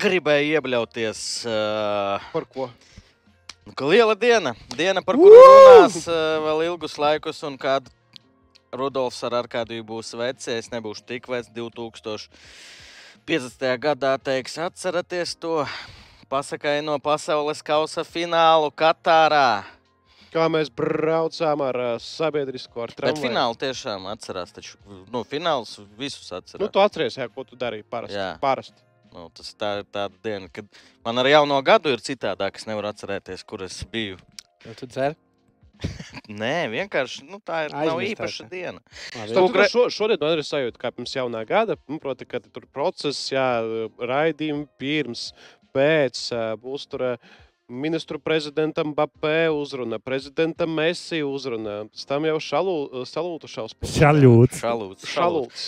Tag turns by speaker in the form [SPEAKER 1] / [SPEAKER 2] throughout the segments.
[SPEAKER 1] gribēju iebļauties. Uh,
[SPEAKER 2] Par ko?
[SPEAKER 1] nu, ka liela diena, diena, par kuru runās uh, vēl ilgus laikus, un kādu Rudolfs ar Arkādiju būs vecs. Es nebūšu tik vecs, 2050. gadā teiks, atcerieties to pasakai no pasaules kausa finālu Katārā.
[SPEAKER 2] Kā mēs braucām ar ā, sabiedrisko ar
[SPEAKER 1] Bet
[SPEAKER 2] tramvaju.
[SPEAKER 1] finālu tiešām atcerās. Taču, nu, fināls visus atcerās.
[SPEAKER 2] Nu, tu atceries, jā, ko tu darīji parasti.
[SPEAKER 1] Jā.
[SPEAKER 2] parasti.
[SPEAKER 1] Nu, tas tā ir tāda diena, kad man ar jauno gadu ir citādāk. Es nevaru atcerēties, kur es biju.
[SPEAKER 3] Jau tu dzer?
[SPEAKER 1] Nē, vienkārši nu, tā ir nav
[SPEAKER 3] Aizmirst
[SPEAKER 1] īpaša
[SPEAKER 3] tā.
[SPEAKER 1] diena.
[SPEAKER 2] Starp,
[SPEAKER 3] Labi.
[SPEAKER 1] Stop.
[SPEAKER 2] citu, man šo, šodien man ir sajūta, kā pirms jaunā gada, nu, proti, ka tur process, jā, raidījumi pirms, pēc, ā, būs tur ā, ministru prezidentam Bapē uzruna, prezidentam Messi uzruna, pēc tam jau šalū, salūtu šaus.
[SPEAKER 1] Šalūts.
[SPEAKER 4] Šaļūts.
[SPEAKER 1] šalūts.
[SPEAKER 2] Šalūts.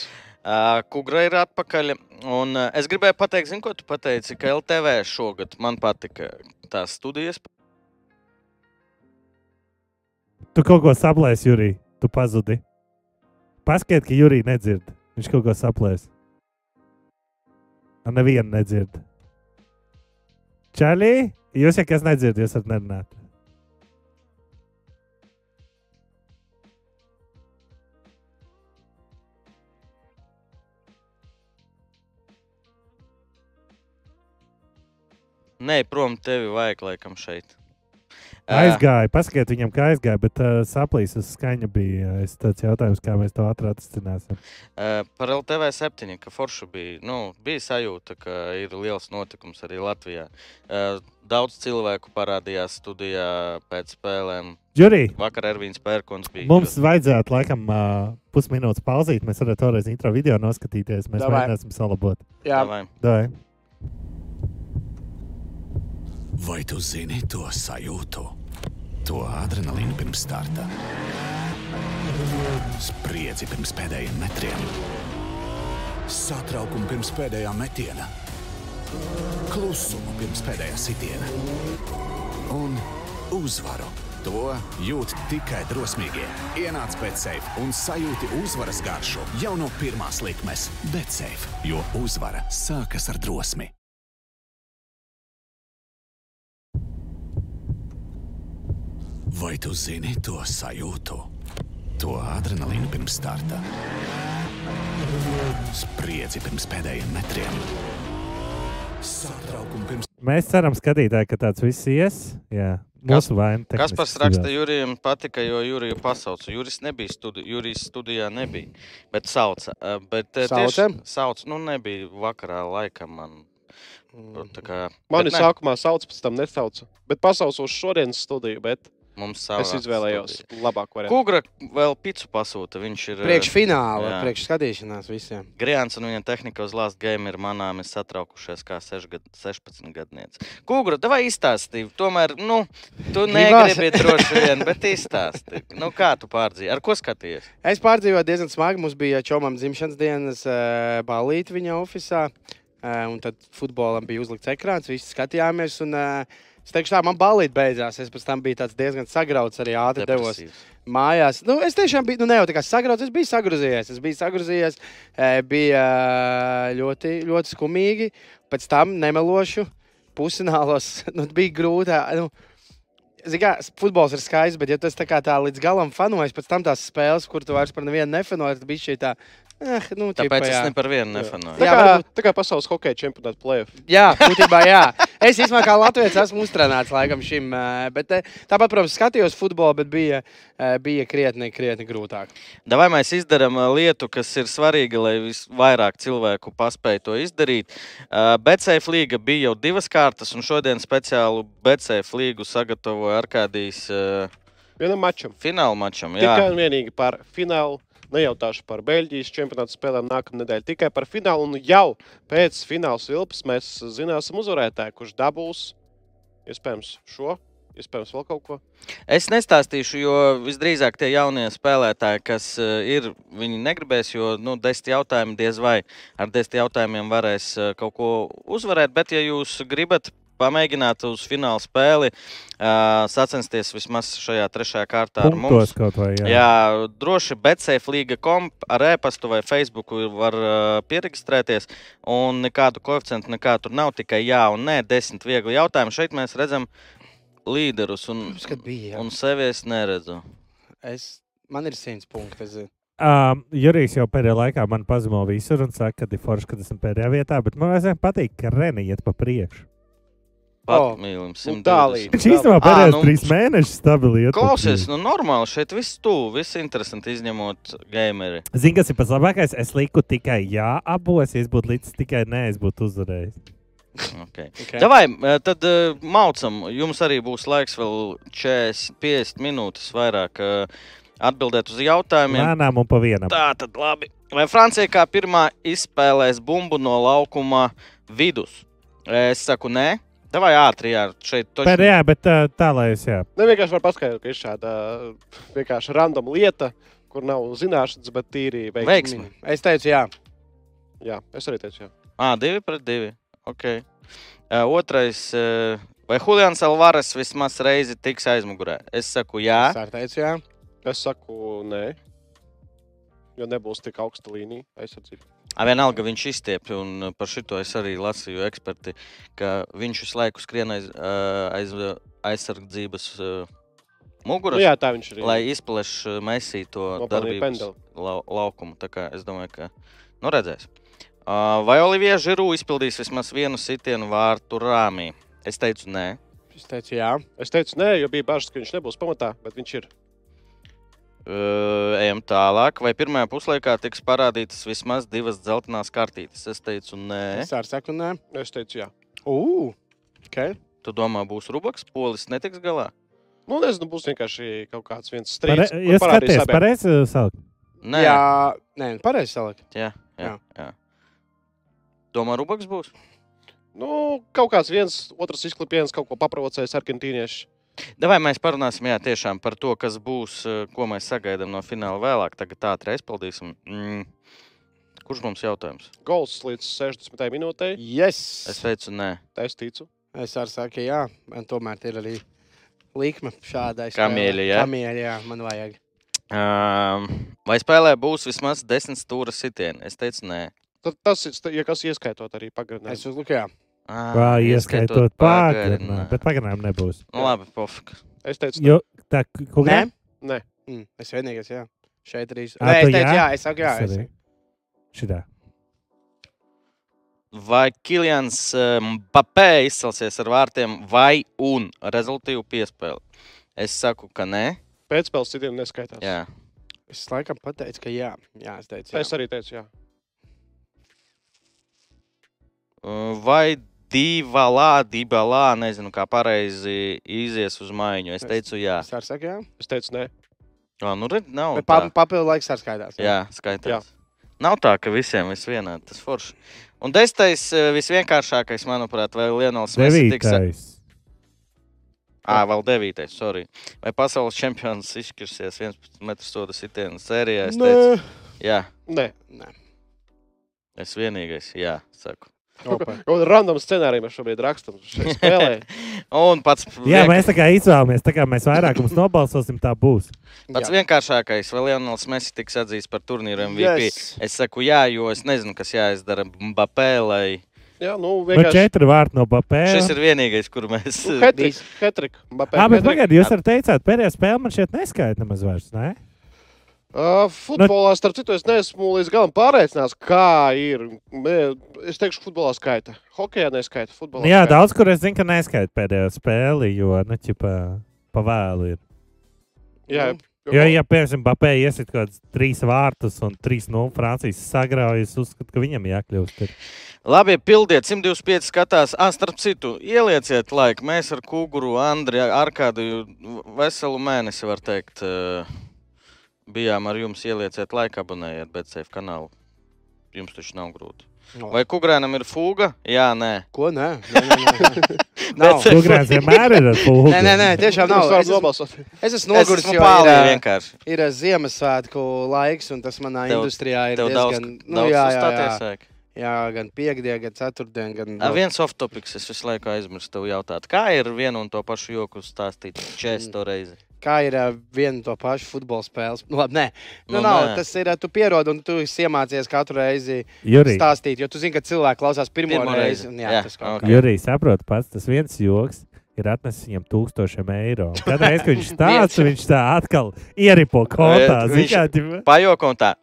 [SPEAKER 1] Uh, Kugra ir atpakaļ. Un, uh, es gribēju pateikt, zinu, ko tu pateici, ka LTV šogad man patika tās studijas.
[SPEAKER 4] Tu kaut ko saplēsi, Jurī. Tu pazudi. Paskiet, ka Jurī nedzird. Viņš kaut ko saplēs. Nē, viena nedzird. Čaļī, jūs, ja kas nedzird, jūs varat nerunāt.
[SPEAKER 1] Nē, prom tevi vajag laikam šeit. Ā,
[SPEAKER 4] Aizgāja, paskiet viņam, kā aizgāja, bet uh, saplīs uz skaņa bija. ā, Es tāds jautājums, kā mēs to atrastināsim.
[SPEAKER 1] Uh, par LTV septiņiem, ka forši bija, nu, bija sajūta, ka ir liels notikums arī Latvijā. Uh, daudz cilvēku parādījās studijā pēc spēlēm.
[SPEAKER 4] Jurī,
[SPEAKER 1] Vakar Ervīns Pērkons bija.
[SPEAKER 4] mums vajadzētu laikam uh, pusminūtes pauzīt. Mēs varētu toreiz intro video noskatīties. Mēs
[SPEAKER 3] Davai.
[SPEAKER 4] mēģināsim salabot.
[SPEAKER 3] Jā,
[SPEAKER 1] Davai.
[SPEAKER 4] Dai.
[SPEAKER 5] Vai tu zini to sajūtu? To adrenalīnu pirms starta, spriedzi pirms pēdējiem metriem, satraukumu pirms pēdējā metiena, klusumu pirms pēdējā sitiena un uzvaru. To jūt tikai drosmīgie. Ienāc pēc sevis un sajūti uzvaras garšu jau no pirmās likmes, bet seif, jo uzvara sākas ar drosmi. Vai tu zini to sajūtu? To adrenalīnu pirms starta, spriedzi pirms pēdējiem metriem, satraukumu pirms.
[SPEAKER 4] Mēs ceram, skatītāji, ka tāds viss ies. Jā,
[SPEAKER 1] Kas-
[SPEAKER 4] mūsu vaina.
[SPEAKER 1] Kas
[SPEAKER 4] tehniski
[SPEAKER 1] pasraksta
[SPEAKER 4] studijā.
[SPEAKER 1] Jurijam patika, jo Juriju pasauca. Juris nebija studi Jurijs studijā, nebija, bet sauca. Uh, Bet, uh,
[SPEAKER 3] Sauca?
[SPEAKER 1] Tieši, sauc, nu nebija vakarā laikam man. tur tā Kā,
[SPEAKER 2] Mani
[SPEAKER 1] bet ne,
[SPEAKER 2] sākumā sauc, pēc tam nesauca. Bet pasaucos šodienas studiju, bet
[SPEAKER 1] Mums
[SPEAKER 2] es
[SPEAKER 1] savā
[SPEAKER 2] izvēlējos
[SPEAKER 1] studijā.
[SPEAKER 2] labāko variantu.
[SPEAKER 1] Kugra vēl picu pasūta, viņš ir... uh,
[SPEAKER 3] Priekšfināla,
[SPEAKER 1] jā.
[SPEAKER 3] priekšskatīšanās visiem.
[SPEAKER 1] Grijāns un viņa tehnika uz Last Game ir manām ir satraukušies kā sešgad- 16 gadniece. Kūgra, tev izstāstīja, tomēr, nu, tu
[SPEAKER 3] Gribās.
[SPEAKER 1] negribi droši vien, bet izstāstīja. Nu, kā tu pārdzīvi? Ar ko skaties?
[SPEAKER 3] Es pārdzīvoju diezgan smagi. Mums bija čomam dzimšanas dienas eh, balīti viņa ofisā. eh, Un tad futbolam bija uzlikts ekrāns, visi skatījāmies. Un, eh, es teikšu, tā man balīti beidzās. Es pēc tam biju tāds diezgan sagrauts arī ātri devos.
[SPEAKER 1] Depresīvs.
[SPEAKER 3] mājās. Nu, es tiešām biju, nu, ne jau tā kā sagrauts, es biju sagrozījies. Es biju sagrozījies, e, bija ā, ļoti, ļoti skumīgi. Pēc tam nemelošu, pusinālos. Nu, bija grūti. ā, Nu, Zini, kā s- futbols ir skaists, bet, ja tas tā, kā tā līdz galam fanojas, pēc tam tās spēles, kur tu vairs par nevienu nefanoji, tad bija šī tā, eh, nu,
[SPEAKER 1] Tāpēc
[SPEAKER 3] ķipa,
[SPEAKER 1] es
[SPEAKER 3] jā.
[SPEAKER 1] ne par vienu nefanoju.
[SPEAKER 2] Tā
[SPEAKER 3] Jā,
[SPEAKER 2] kā,
[SPEAKER 3] varbūt-
[SPEAKER 2] tā kā pasaules hokeja čempionāta plēve.
[SPEAKER 3] Jā, būtībā jā. Es īstenībā kā Latvijas esmu uztraucināts laikam šim. eh, Bet, eh, tāpat, protams, skatījos futbolu, bet bija, eh, bija krietni, krietni grūtāk.
[SPEAKER 1] Vai mēs izdarām ā, lietu, kas ir svarīga, lai visvairāk cilvēku paspēj to izdarīt? Betsēfa līga bija jau divas kārtas, un šodien speciālu Betsēfa līgu sagatavoja Arkādijas ā,
[SPEAKER 2] Vienam mačam.
[SPEAKER 1] fināla mačam. Jā.
[SPEAKER 2] Tikai un vienīgi par finālu. Nejautāšu par Beļģijas čempionāta spēlēm nākamā nedēļa. Tikai par finālu. Un jau pēc fināla vilpas mēs zināsim uzvarētāju, kurš dabūs iespējams šo, iespējams vēl kaut ko.
[SPEAKER 1] Es nestāstīšu, jo visdrīzāk tie jaunie spēlētāji, kas uh, ir, viņi negribēs, jo nu, desmit eh, jautājumi diez vai ar desmit jautājumiem varēs uh, kaut ko uzvarēt. Bet, ja jūs gribat pamēģināt uz fināla spēli uh, sacensties vismaz šajā trešajā kārtā ar mums.
[SPEAKER 4] Punktos kaut vai.
[SPEAKER 1] Jā.
[SPEAKER 4] Jā.
[SPEAKER 1] Jā, droši betseiflīga.com ar e-pastu vai Facebooku var uh, pierakstīties. Un nekādu koeficientu nekā tur nav, tikai jā un nē, desmit viegli jautājumi. Šeit mēs redzam līderus, un,
[SPEAKER 3] Mums, kad bija, jā.
[SPEAKER 1] un sevi es neredzu.
[SPEAKER 3] Es, man ir 100 punkti. Es, zinu.
[SPEAKER 4] Um, Jurijs jau pēdējā laikā man pazemo visur un saka, ka ir forši, ka esmu pēdējā vietā, bet man vienmēr patīk, ka Reni iet pa priekšu.
[SPEAKER 3] O,
[SPEAKER 1] Pat mīlim,
[SPEAKER 2] un tālīt.
[SPEAKER 1] 120.
[SPEAKER 4] Viņš īstenībā
[SPEAKER 1] Ā,
[SPEAKER 4] pēdējos
[SPEAKER 1] nu,
[SPEAKER 4] trīs mēnešus stabili iet. pa
[SPEAKER 1] Klausies,
[SPEAKER 4] priekšu.
[SPEAKER 1] nu normāli šeit viss tuvu, viss interesanti izņemot gameri.
[SPEAKER 4] Zini, kas ir pats labākais? Es lieku tikai jā, abos. Ja es būtu līdz tikai nē, es būtu uzvarējis.
[SPEAKER 1] Okay.
[SPEAKER 2] Okay.
[SPEAKER 1] Okay. Davai, eh, tad eh, maucam, jums arī būs laiks vēl 40, 50 minūtes vairāk eh, atbildēt uz jautājumiem.
[SPEAKER 4] Lēnām un pa vienam.
[SPEAKER 1] Tā tad labi. Vai Francija kā pirmā izspēlēs bumbu no laukuma vidus? Es saku, nē, tā vai ātri, jā, šeit taču-
[SPEAKER 4] Pēdējā, bet uh, tā lai es jā.
[SPEAKER 2] Ne Nu, vienkārši var paskaidrot, ka ir šāda vienkārši random lieta, kur nav zināšanas, bet tīri veiksme.
[SPEAKER 1] Veiksmi.
[SPEAKER 3] es teicu, jā.
[SPEAKER 2] Jā, es arī teicu, jā.
[SPEAKER 1] Ā, Ah, divi pret divi. Okay. Eh, Otrais. eh, Vai Julians Alvarez vismaz reizi tiks aizmugurē? Es saku, jā.
[SPEAKER 3] Es arī teicu, jā.
[SPEAKER 2] Es saku, nē, jo nebūs tik augsta līnija aizsardzība.
[SPEAKER 1] A, Vienalga viņš izstiepjas, un eh, par šito es arī lasīju eksperti, ka viņš visu laiku skrien aiz, eh, aiz eh, aizsardzības eh,
[SPEAKER 2] Nu,
[SPEAKER 1] muguras.
[SPEAKER 2] jā, tā viņš ir.
[SPEAKER 1] lai izplešs Mēsī to
[SPEAKER 2] Nopelnīja
[SPEAKER 1] darbības
[SPEAKER 2] pendeli.
[SPEAKER 1] lau, laukumu. Tā kā es domāju, ka nu redzēs. Uh, vai Olivija Žirū izpildīs vismaz vienu sitienu vārtu rāmī? Es teicu, nē.
[SPEAKER 3] Es teicu, jā.
[SPEAKER 2] Es teicu, nē, jo bija bažas, ka viņš nebūs pamatā, bet viņš ir.
[SPEAKER 1] Uh, ejam tālāk. Vai pirmajā puslaikā tiks parādītas vismaz divas dzeltenās kartītes? Es teicu, nē.
[SPEAKER 3] Es arī saku, nē.
[SPEAKER 2] Es teicu, jā.
[SPEAKER 3] Ugh, ok.
[SPEAKER 1] Tu domā, būs rubaks, polis netiks galā?
[SPEAKER 2] Nu, nezinu, būs vienkārši kaut kāds viens strīds. kur
[SPEAKER 4] Jūs
[SPEAKER 2] parādīs
[SPEAKER 4] skatāties,
[SPEAKER 2] abiem.
[SPEAKER 4] pareizi uh, saukt.
[SPEAKER 1] Nē,
[SPEAKER 3] Jā, nē, nu pareizi salikt.
[SPEAKER 1] jā, jā,
[SPEAKER 3] Jā.
[SPEAKER 1] jā. Domā, rubaks būs?
[SPEAKER 2] Nu, kaut kāds viens, otrs izklipiens kaut ko paprovocējis argentīnieši.
[SPEAKER 1] Davai mēs parunāsim jā, tiešām par to, kas būs, eh, ko mēs sagaidām no fināla vēlāk. Tagad tā ātri aizpildīsim. Mm. Kurš mums jautājums?
[SPEAKER 2] Gols līdz 60 minūtei.
[SPEAKER 3] Yes.
[SPEAKER 1] Es teicu, nē,
[SPEAKER 2] Tā es ticu.
[SPEAKER 3] Es arī saku, jā, man tomēr ir arī līkme šādai.
[SPEAKER 1] Kamieļi, jā?
[SPEAKER 3] Kamieļi, jā, man vajag.
[SPEAKER 1] um, vai spēlē būs vismaz desmit stūra sitieni. Es teicu, nē,
[SPEAKER 2] Tad tas ir, ja kas ieskaitot arī pagrindinājumā.
[SPEAKER 3] Es uzliku, jā.
[SPEAKER 1] Ā,
[SPEAKER 4] Kā ieskaitot pagarinājumu. Bet pagarinājumu nebūs.
[SPEAKER 1] Nu, labi, pofik.
[SPEAKER 2] Es teicu,
[SPEAKER 4] Jo, tā kā
[SPEAKER 3] Nē?
[SPEAKER 2] Nē.
[SPEAKER 3] Mm, es vienīgais, jā. Šeit arī.
[SPEAKER 4] Ā,
[SPEAKER 3] Nē,
[SPEAKER 4] tu
[SPEAKER 3] es teicu,
[SPEAKER 4] jā?
[SPEAKER 3] jā, es saku, jā. Es...
[SPEAKER 4] Šitā.
[SPEAKER 1] Vai Kilians Mbappé izcelsies ar vārtiem vai un rezultātu piespēli? Es saku, ka nē.
[SPEAKER 2] ka pēcspēles citiem neskaitās.
[SPEAKER 1] Jā.
[SPEAKER 3] Es laikam pateicu, ka jā. Jā, es teicu,
[SPEAKER 2] Tā
[SPEAKER 3] jā.
[SPEAKER 2] Es arī teicu, jā.
[SPEAKER 1] Uh, Vai Dīvalā, Dībalā, nezinu, kā pareizi izies uz maiņu. Es
[SPEAKER 3] Es-
[SPEAKER 1] teicu, jā.
[SPEAKER 3] Es arī saku, jā.
[SPEAKER 2] Es teicu, nē,
[SPEAKER 1] Jā, nu redz, nav.
[SPEAKER 3] Bet
[SPEAKER 1] tā.
[SPEAKER 3] pa, papildu laiks arī skaidrs.
[SPEAKER 1] Jā,
[SPEAKER 2] Jā.
[SPEAKER 1] skaitās. Nav tā, ka visiem ir vienādi. Tas forši. Un desmitais, eh, visvienkāršākais, manuprāt, vai Lienāls Mēsīs tiks.
[SPEAKER 4] Devītais.
[SPEAKER 1] Ā, vēl devītais, sorry. Vai pasaules čempions izšķirsies 11 metru soda sitienas sērijā? Es teicu, jā,
[SPEAKER 2] nē.
[SPEAKER 3] Nē.
[SPEAKER 1] es vienīgais, jā, saku.
[SPEAKER 3] Opa.
[SPEAKER 2] Kaut kādā random scenārijā mēs šobrīd rakstām. šai Spēlē.
[SPEAKER 1] Un pats,
[SPEAKER 4] Jā,
[SPEAKER 1] vienkār-
[SPEAKER 4] mēs tā kā izvēlamies, tā kā mēs vairākums nobalsosim, tā būs.
[SPEAKER 1] pats
[SPEAKER 3] Jā.
[SPEAKER 1] vienkāršākais, vai Lienāls Mēsīs tiks atzīts par turnīru MVP.
[SPEAKER 3] Yes.
[SPEAKER 1] Es saku, jā, jo es nezinu, kas jāizdara Mbappé, lai
[SPEAKER 2] jā, nu,
[SPEAKER 4] Nu,
[SPEAKER 2] vienkārši.
[SPEAKER 4] četri vārti no
[SPEAKER 1] šis
[SPEAKER 4] Bapēļa.
[SPEAKER 1] ir vienīgais, kur mēs.
[SPEAKER 2] Nu, Hetriks, Hetriks, Mbappé,
[SPEAKER 4] Jā, bet
[SPEAKER 2] Hetriks.
[SPEAKER 4] pagaidiet, jūs arī teicāt, pēdējā spēle man šeit neskaita nemaz vairs. Ne?
[SPEAKER 2] Ā, Futbolā, starp citu, es neesmu līdz galam pārliecināts, kā ir. Mē, Es teikšu, futbolā skaita. Hokejā neskaita. Futbolā
[SPEAKER 4] Jā,
[SPEAKER 2] skaita.
[SPEAKER 4] daudz kur es zinu, ka neskaita pēdējā spēle, jo, nu, ķipā, pavēli ir.
[SPEAKER 2] Jā, jo-
[SPEAKER 4] Jo, ja, piemēram, Bapē iesit kaut kāds trīs vārtus un trīs no Francijas sagraujas, uzskatu, ka viņam jākļūst. Ir.
[SPEAKER 1] Labi, pildiet, 125 skatās. Ah, starp citu, ielieciet laiku. Mēs ar Kūguru, Andriju, Arkādiju veselu mēnesi, var teikt, eh, bijām ar jums. Ielieciet laiku, abonējiet BCF kanālu. Jums taču nav grūti.
[SPEAKER 3] No.
[SPEAKER 1] Vai Kukrānam ir fūga? Jā, nē.
[SPEAKER 3] Ko? Nē, nē, nē. nē. Nav.
[SPEAKER 1] Bet-
[SPEAKER 4] Ugrāns vienmēr ir ar pūgu.
[SPEAKER 3] Nē, nē, nē, tiešām nav.
[SPEAKER 2] Mēs varam
[SPEAKER 3] Es esmu,
[SPEAKER 2] nobalsot.
[SPEAKER 3] es esmu
[SPEAKER 1] Es
[SPEAKER 3] noguris,
[SPEAKER 1] esmu
[SPEAKER 3] jo ir,
[SPEAKER 1] pāri
[SPEAKER 3] ā,
[SPEAKER 1] vienkārši.
[SPEAKER 3] ir ā, Ziemassvētku laiks, un tas manā
[SPEAKER 1] Tev-
[SPEAKER 3] industrijā ir
[SPEAKER 1] Tev daudz,
[SPEAKER 3] diezgan... nu,
[SPEAKER 1] daudz
[SPEAKER 3] jā, jā, jā.
[SPEAKER 1] uzstāties vajag.
[SPEAKER 3] Jā, gan piekdienā, gan ceturtdienā, gan nu,
[SPEAKER 1] Ar viens off topics es visu laiku aizmirstu tev jautāt, kā ir vienu un to pašu joku stāstīt 40
[SPEAKER 3] Mm.
[SPEAKER 1] reizi?
[SPEAKER 3] kā ir ā, viena un tā paša futbola spēle. Nu, labi, nē, nu,
[SPEAKER 1] Nu,
[SPEAKER 3] nu, nav,
[SPEAKER 1] nē.
[SPEAKER 3] tas ir. ā, Tu pierodi un tu esi iemācies katru reizi
[SPEAKER 4] Jurī,
[SPEAKER 3] stāstīt. Jo tu zini, ka cilvēki klausās pirmo,
[SPEAKER 1] Pirmo
[SPEAKER 3] pirmo
[SPEAKER 1] reizi.
[SPEAKER 3] reizi. un
[SPEAKER 1] Jā,
[SPEAKER 3] Jā, jā, tas kaut
[SPEAKER 1] ok.
[SPEAKER 3] kā
[SPEAKER 4] Jurī saprot, pats tas viens joks. Ir atnesis viņam tūkstošiem eiro. Kad reiz, kad viņš stāsta, viņš tā atkal ieripo kontā.
[SPEAKER 1] Viņš-
[SPEAKER 4] Ziniet, kā
[SPEAKER 1] Pajoko un tā.
[SPEAKER 4] tā.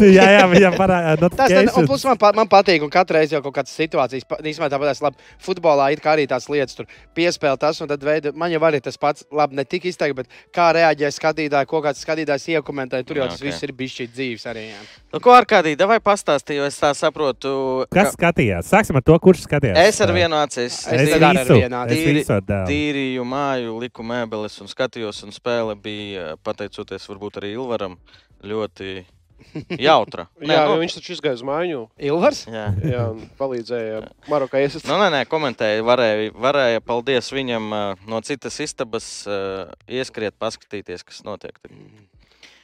[SPEAKER 4] Jā, jā, viņam parādās.
[SPEAKER 3] Tas ir plus man, pa, man patīk, un katra reize jau kaut kādas situācijas. pa- Īsumā tāpat es labi futbolā it kā arī tās lietas tur piespēlēju, tas un tad veidu. Man jau arī tas pats, labi, ne tik izteikti, bet kā reaģēja skatītāji, ko kāds skatītājs iekomentēja. Tur jau
[SPEAKER 1] Jā,
[SPEAKER 3] tas
[SPEAKER 1] ok.
[SPEAKER 3] viss ir bijis šī dzīves arī. Jā.
[SPEAKER 1] Nu, ko ar kādī, davai pastāstīju, es tā saprotu.
[SPEAKER 4] Kas skatījās? Sāksim ar to, kurš skatījās.
[SPEAKER 1] Es ar vienu acīs.
[SPEAKER 3] Es
[SPEAKER 4] Es
[SPEAKER 3] tad
[SPEAKER 1] tīri-
[SPEAKER 3] arī ar
[SPEAKER 4] visu,
[SPEAKER 3] vienu
[SPEAKER 4] es
[SPEAKER 1] tīri-
[SPEAKER 4] visu atdevu.
[SPEAKER 1] tīrīju māju, liku mēbeles un skatījos, un spēle bija, pateicoties varbūt arī Ilvaram, ļoti jautra.
[SPEAKER 2] Jā,
[SPEAKER 1] nu,
[SPEAKER 2] jo viņš taču izgāja uz māju.
[SPEAKER 3] Ilvars?
[SPEAKER 1] jā.
[SPEAKER 2] Jā, un palīdzēja Marokai iesaistīt.
[SPEAKER 1] Nu, nē, nē, komentēja. Varēja, varēja paldies viņam ā, no citas istabas ā, ieskriet, paskatīties, kas notiek. tur.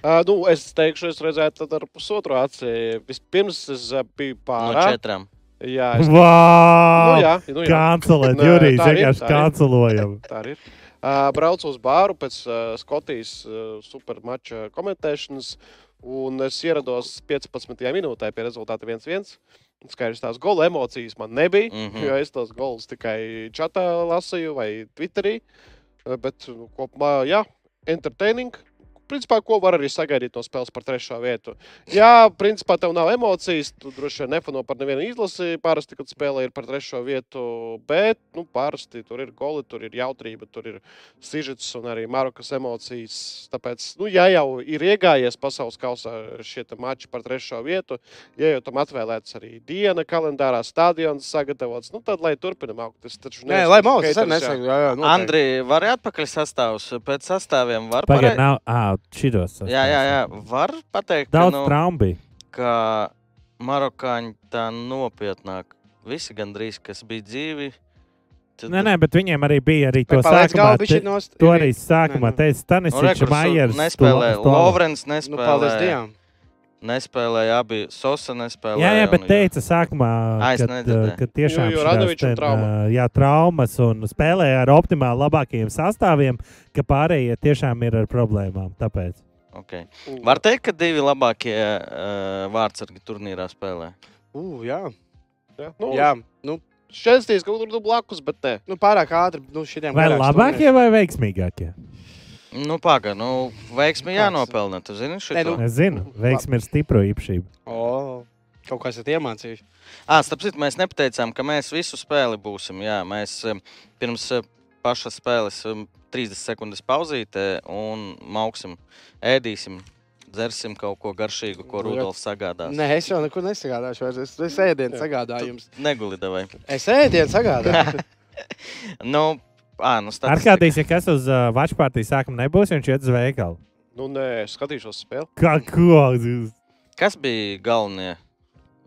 [SPEAKER 2] Ā, Nu, es teikšu, es redzēju, tad ar pusotru aci. Vispirms es ā, biju
[SPEAKER 1] No
[SPEAKER 2] pārā.
[SPEAKER 1] četrām.
[SPEAKER 2] Jā, es... nu,
[SPEAKER 4] Vau!
[SPEAKER 2] jā, nu, jā.
[SPEAKER 4] Kancelēt,
[SPEAKER 2] Nē,
[SPEAKER 4] Jurī,
[SPEAKER 2] tā ir,
[SPEAKER 4] vienkārši
[SPEAKER 2] tā ir.
[SPEAKER 4] kancelojam.
[SPEAKER 2] Tā arī ir. Uh, braucu uz bāru pēc uh, Skotijas uh, supermača komentēšanas, un es ierados 15. minūtē pie rezultāta 1-1. Skaidrs, tās gola emocijas man nebija, mm
[SPEAKER 1] Mhm.
[SPEAKER 2] -hmm. jo es tos golus tikai čatā lasīju vai Twitterī. Uh, Bet nu, kopumā, jā, entertaining. Principā, ko var arī sagaidīt no spēles par trešo vietu. Jā, principā tev nav emocijas. Tu droši vien nefano par nevienu izlasi. Parasti, kad spēlē ir par trešo vietu, bet nu, parasti tur ir goli, tur ir jautrība, tur ir sižets un arī Marokas emocijas. Tāpēc, nu, ja jau ir iegājies pasaules kausā šie te mači par trešo vietu, ja jau tam atvēlēts arī diena kalendārā, stadions sagatavots, nu, tad lai turpinam augt. Tas taču
[SPEAKER 3] Nē,
[SPEAKER 2] neesmu
[SPEAKER 3] lai mums tas
[SPEAKER 2] haters, jā.
[SPEAKER 3] arī nesaka. jā, jā, noteikti.
[SPEAKER 1] Andri, var atpakaļ sastāvus pēc sastāviem? Var
[SPEAKER 4] Pagaidiet,
[SPEAKER 1] parei-
[SPEAKER 4] nav. Ā, šitos.
[SPEAKER 1] Jā, jā, jā. Var pateikt, ka,
[SPEAKER 4] Daudz
[SPEAKER 1] nu,
[SPEAKER 4] traumu bija.
[SPEAKER 1] ka marokāņi tā nopietnāk. Visi gandrīz, kas bija dzīvi. tad-
[SPEAKER 4] Nē, nē, bet viņiem arī bija arī to
[SPEAKER 3] Bet palaist
[SPEAKER 4] sākumā.
[SPEAKER 3] galvu,
[SPEAKER 4] te-
[SPEAKER 3] bišķi nost.
[SPEAKER 4] To arī
[SPEAKER 3] Nē,
[SPEAKER 4] sākumā
[SPEAKER 3] nu.
[SPEAKER 4] teica Stanis
[SPEAKER 1] Nu, re, kurš
[SPEAKER 4] Maiers.
[SPEAKER 1] nespēlēja. Lovrens
[SPEAKER 3] Nu, paldies
[SPEAKER 1] nespēlēja.
[SPEAKER 3] Dievam.
[SPEAKER 1] Nespēlēja abi. Sosa nespēlēja.
[SPEAKER 4] Jā, jā,
[SPEAKER 1] un-
[SPEAKER 4] bet teica sākumā,
[SPEAKER 1] Ai, Ah, es
[SPEAKER 4] kad,
[SPEAKER 1] nedzirdēju.
[SPEAKER 4] uh, ka
[SPEAKER 2] Jo-
[SPEAKER 4] tiešām
[SPEAKER 2] jo
[SPEAKER 4] šitās
[SPEAKER 2] Radoničam
[SPEAKER 4] ten,
[SPEAKER 2] trauma.
[SPEAKER 4] uh, jā, traumas un spēlēja ar optimāli labākajiem sastāviem, ka pārējie tiešām ir ar problēmām. Tāpēc.
[SPEAKER 1] Okay.
[SPEAKER 2] Un-
[SPEAKER 1] Var teikt, ka divi labākie uh, vārdsargi turnīrā spēlē.
[SPEAKER 3] Ū, Jā,
[SPEAKER 2] Jā, nu, jā.
[SPEAKER 3] jā. Nu,
[SPEAKER 2] Šķērsties, ka tur blakus, bet nē.
[SPEAKER 3] nu, pārāk ātri. Nu, šitiem
[SPEAKER 4] Vai
[SPEAKER 3] garāks turnīrs.
[SPEAKER 4] labākie vai veiksmīgākie?
[SPEAKER 1] Nu, pagaidi, nu, veiksmi
[SPEAKER 3] Kāds?
[SPEAKER 1] jānopelna. Tu zini, šī
[SPEAKER 3] Nē, nu,
[SPEAKER 1] ir.
[SPEAKER 4] Es zinu, veiksmi ir stipra īpašība.
[SPEAKER 3] O, kaut ko esat iemācījušies.
[SPEAKER 1] Ah, starp citu, mēs nepateicām, ka mēs visu spēli būsim. Jā, mēs em, pirms em, pašas spēles em, 30 sekundes pauzītē un mauksim, ēdīsim, dzersim kaut ko garšīgu, ko
[SPEAKER 2] Nu, jā.
[SPEAKER 1] Rudolfs sagādās.
[SPEAKER 3] Nē, es jau nekur nesagādāšu. vairs. Es, es ēdienu sagādāju jums.
[SPEAKER 1] Neguli davai.
[SPEAKER 3] Es ēdienu sagādāju.
[SPEAKER 1] Nu, ā, nu,
[SPEAKER 4] Ar
[SPEAKER 1] statistika.
[SPEAKER 4] kādīs, ja kas uz uh, Vačpārtī sākuma nebūs, viņš iet uz veikalu.
[SPEAKER 2] Nu, nē, es skatīšos spēli.
[SPEAKER 4] Kā ko? Jūs-
[SPEAKER 1] Kas bija galvenie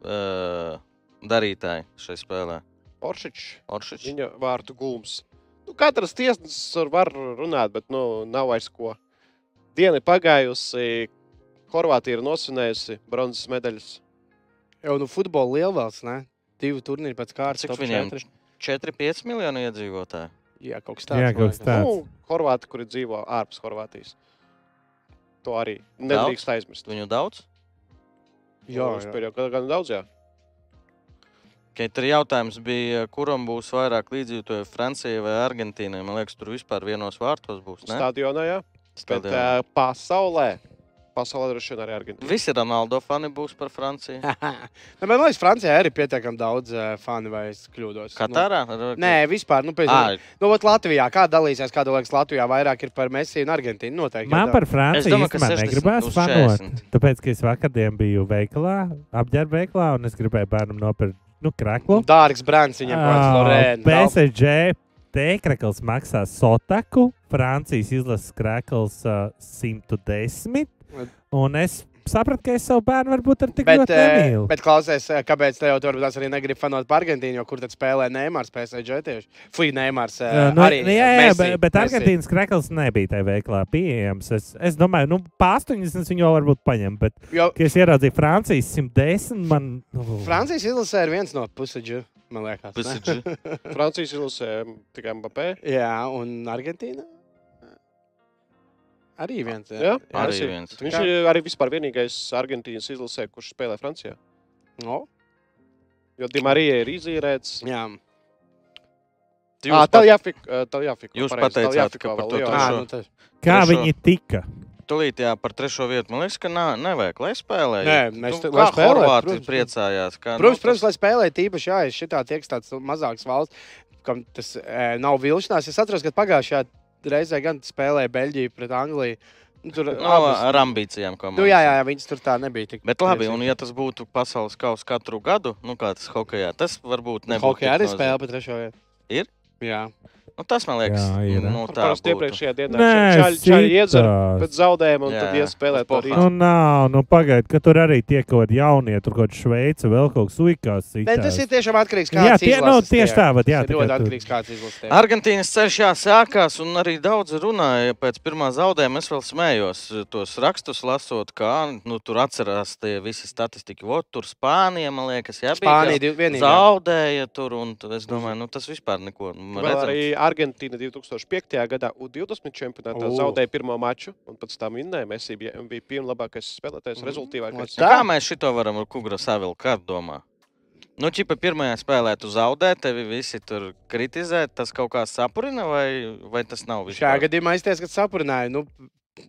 [SPEAKER 1] uh, darītāji šajā spēlē?
[SPEAKER 2] Oršičs,
[SPEAKER 1] Oršičs.
[SPEAKER 2] viņa vārtu gulms. Nu, katrs tiesnesis ar- var runāt, bet nu, nav vairs ko. Diena ir pagājusi, Horvātija ir nosvinējusi bronzas medaļas.
[SPEAKER 3] Jau nu futbola lielvalsts, ne? Divi turnīri pēc kārtas.
[SPEAKER 1] Cik
[SPEAKER 3] top
[SPEAKER 1] viņiem?
[SPEAKER 3] četri.
[SPEAKER 1] 4,5 miljoni iedzīvotāji.
[SPEAKER 3] Jā, kaut kas tāds.
[SPEAKER 4] Jā, kaut kas
[SPEAKER 3] man liekas.
[SPEAKER 4] tāds.
[SPEAKER 2] Nu, Horvāti, kuri dzīvo ārpus Horvātijas. To arī nedrīkst aizmirst. Nu,
[SPEAKER 1] Viņu daudz?
[SPEAKER 3] Jā,
[SPEAKER 2] Uz
[SPEAKER 3] jā.
[SPEAKER 2] pēdējo gadu gan daudz, jā.
[SPEAKER 1] Okay, tur jautājums bija, kuram būs vairāk līdzjūtību, Francijai vai Argentīnai. Man liekas, tur vispār vienos vārtos būs. ne?
[SPEAKER 2] Stadionā, jā. Bet
[SPEAKER 1] Stadionā.
[SPEAKER 2] uh, pasaulē, pasaulē droši vien arī Argentīna.
[SPEAKER 1] Visi Ronaldo fani būs par Franciju.
[SPEAKER 3] Nu, Man liekas, Francijā arī ir pietiekami daudz eh, fani, vai es kļūdos.
[SPEAKER 1] Katārā?
[SPEAKER 3] Nu, nē, vispār. Nu, pēc,
[SPEAKER 1] À,
[SPEAKER 3] nu, ot, Latvijā, kā dalīsies, kāda liekas, Latvijā vairāk ir par Mēsiju un Argentīnu. Noteikti.
[SPEAKER 4] Man par
[SPEAKER 1] es
[SPEAKER 4] Franciju
[SPEAKER 1] domāju, ka
[SPEAKER 4] īstenībā
[SPEAKER 1] 60
[SPEAKER 4] negribās
[SPEAKER 1] uz
[SPEAKER 4] fanot.
[SPEAKER 1] 40.
[SPEAKER 4] Tāpēc, ka es vakardien biju veikalā, apģērba veikalā, un es gribēju bērnam nopirkt nu, kreklu.
[SPEAKER 3] Dārgs brands viņam, protams, Lorēna.
[SPEAKER 4] PSG tēkrakls maksā sotaku, Francijas izlases krekls uh, 110. Un es sapratu, ka es savu bērnu varbūt ar tik
[SPEAKER 3] Bet,
[SPEAKER 4] ļoti
[SPEAKER 3] eh,
[SPEAKER 4] nemīlu.
[SPEAKER 3] bet klausies, eh, kāpēc te jau tur varbūt tās arī negrib fanot par Argentīnu, jo kur tad spēlē Neimārs PSG tieši? Fui, Neimārs. eh,
[SPEAKER 4] Eh, nu,
[SPEAKER 3] arī,
[SPEAKER 4] nu, jā, jā,
[SPEAKER 3] Messi,
[SPEAKER 4] bet, bet
[SPEAKER 3] Messi.
[SPEAKER 4] Argentīnas krekls nebija tajā veiklā pieejams. Es, es domāju, nu, pārstundas viņu jau varbūt paņem, bet,
[SPEAKER 3] Jo
[SPEAKER 4] kad es ieraudzīju Francijas 110, man. Nu,
[SPEAKER 3] Francijas izlasē ir viens no pusaģu, man liekas. ne?
[SPEAKER 1] PSG.
[SPEAKER 2] Francijas ilusē tikai Mbappé.
[SPEAKER 3] Jā, un Argentīna. Arī viens. Jā.
[SPEAKER 2] Jā,
[SPEAKER 1] Arī
[SPEAKER 2] tas ir.
[SPEAKER 1] viens.
[SPEAKER 2] Viņš ir arī vispār vienīgais Argentīnas izlasē, kurš spēlē Francijā.
[SPEAKER 3] No.
[SPEAKER 2] Jo Dimā arī ir izīrēts.
[SPEAKER 3] jā. Ah,
[SPEAKER 2] Jā, tā jāfik, tā jāfik.
[SPEAKER 1] Jūs pateicāt, ka par to
[SPEAKER 3] À,
[SPEAKER 1] trešo.
[SPEAKER 3] nu, tas...
[SPEAKER 4] kā
[SPEAKER 1] Trešo.
[SPEAKER 4] viņi tika?
[SPEAKER 1] Tūlīt, jā, par trešo vietu. Man liekas, ka nā, nevajag, lai spēlē.
[SPEAKER 3] Nē, mēs te-
[SPEAKER 1] tam
[SPEAKER 3] lai spēlē,
[SPEAKER 1] Horvāti
[SPEAKER 3] protams.
[SPEAKER 1] priecājās. Kā,
[SPEAKER 3] Protams,
[SPEAKER 1] nu, tas-
[SPEAKER 3] protams, lai spēlētu īpaši, ja šitā tieks tāds mazāks valsts, kam tas e, nav vilšanās. Es atceros, ka pagājušajā reizē gan spēlēja Beļģija pret Angliju. Nu, Tur
[SPEAKER 1] Nav
[SPEAKER 3] abas-
[SPEAKER 1] ar ambīcijām komandas.
[SPEAKER 3] Nu, jā, jā, jā, viņas tur tā nebija. Tik
[SPEAKER 1] Bet labi, un ja tas būtu pasaules kausa katru gadu, nu kā tas hokeja, tas varbūt nebūtu.
[SPEAKER 3] Hokejā
[SPEAKER 1] tik
[SPEAKER 3] arī
[SPEAKER 1] nozīm-
[SPEAKER 3] spēlē pa trešo vietu.
[SPEAKER 1] Ir?
[SPEAKER 3] Jā.
[SPEAKER 1] Nu, tas man liekas,
[SPEAKER 4] Jā, ir,
[SPEAKER 1] jā, nu, tā
[SPEAKER 2] Tā bija
[SPEAKER 1] ir.
[SPEAKER 2] iepriekšējā dienā.
[SPEAKER 4] Nē,
[SPEAKER 2] Čāļi iedzēra
[SPEAKER 4] sitās.
[SPEAKER 2] pēc zaudējuma un
[SPEAKER 1] Jā,
[SPEAKER 2] tad iespēlēja to
[SPEAKER 1] uz
[SPEAKER 2] rītu.
[SPEAKER 4] Nu, nav, nu, pagaidi, ka tur arī tiek kaut kādi jaunie, tur kaut kāda Šveice, vēl kaut kas unikāls.
[SPEAKER 3] Ne, tas ir tiešām atkarīgs no
[SPEAKER 4] Jā,
[SPEAKER 3] tā,
[SPEAKER 4] tie- nu, tieši tā, vat, jā,
[SPEAKER 3] tas ir
[SPEAKER 4] tā kā
[SPEAKER 3] ļoti
[SPEAKER 4] tu-
[SPEAKER 3] atkarīgs no tā, kāds izlasīs.
[SPEAKER 1] Argentīnas ceļš jāsākās, un arī daudz runāja pēc pirmā zaudējuma. Es vēl smējos tos rakstus, lasot, kā nu, tur atcerās tie visi statistiķi. Vot, tur Spānija, man liekas, jā,
[SPEAKER 3] Spānija
[SPEAKER 1] bija.
[SPEAKER 3] div- vienīgā.
[SPEAKER 1] Zaudēja tur, un tad es domāju, nu, tas vispār neko. nu,
[SPEAKER 2] Vēl
[SPEAKER 1] redzams.
[SPEAKER 2] arī Argentīna 2005. gadā U20 čempionātā
[SPEAKER 3] O.
[SPEAKER 2] zaudēja pirmo maču, un pēc tam vinnēja. Mēs bijām pirmie labākais spēlētājs,
[SPEAKER 3] Mm.
[SPEAKER 2] rezultātīvākais.
[SPEAKER 3] O, tā.
[SPEAKER 1] Nu, Tā? Kā mēs šito varam ar kungu savilkt? Kā tu domā? Nu, čipa pirmajā spēlē tu zaudē, tevi visi tur kritizē. Tas kaut kā sapurina, vai, vai tas nav
[SPEAKER 3] Šajā
[SPEAKER 1] vispār?
[SPEAKER 3] gadījumā es tieši kad saprināju, nu,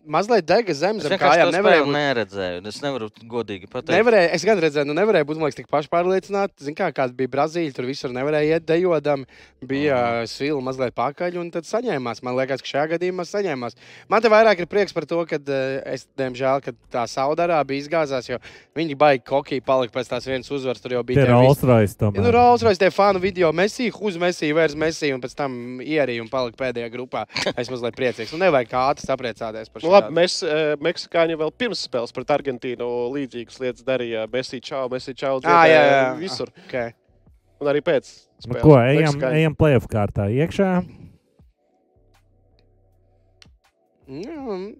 [SPEAKER 3] mazliet dega zem
[SPEAKER 1] Es
[SPEAKER 3] zem
[SPEAKER 1] vienkārši
[SPEAKER 3] kājām.
[SPEAKER 1] to spēli
[SPEAKER 3] Nevarēja būt
[SPEAKER 1] neredzēju. un Es nevaru godīgi pateikt.
[SPEAKER 3] Nevarēja, es gan redzēju, nu nevarēja būt man liekas, tik pašpārliecināta. Ziniet, kā, kāda bija Brazīlija, tur visur nevarēja iet dejodam, bija mm. svila mazliet pakaļ, un tad saņēmās. Man liekas, ka šajā gadījumā saņēmās. Man te vairāk ir prieks par to, ka es, diemžēl, kad tā Saudarā bija izgāzās, jo viņi baigi kokī palika pēc tās vienas uzvaras. Tur jau
[SPEAKER 4] Tie
[SPEAKER 3] bija
[SPEAKER 4] ir
[SPEAKER 3] tie visi-
[SPEAKER 4] Rolls-Royce.
[SPEAKER 3] Ja, Nu, Rolls Royce, tie fanu video, Messi, uz Messi, vairs Messi, un pēc tam ierīja un palika pēdējā grupā. Es mazliet priecīgs. Nu, nevajag kā ātri sapriecāties par
[SPEAKER 2] Nu,
[SPEAKER 3] šo.
[SPEAKER 2] labi, mēs, eh, meksikāņi, vēl pirms spēles pret Argentīnu līdzīgas lietas darīja. Mēs īstenībā čau, mēs īstenībā čau,
[SPEAKER 3] Ah, jā, jā, jā.
[SPEAKER 2] visur.
[SPEAKER 3] Okay.
[SPEAKER 2] Un arī pēc
[SPEAKER 4] Nu,
[SPEAKER 2] spēles.
[SPEAKER 4] ko, ejam,
[SPEAKER 2] Meksikāņi.
[SPEAKER 4] ejam playoff kārtā iekšā.
[SPEAKER 3] Nu,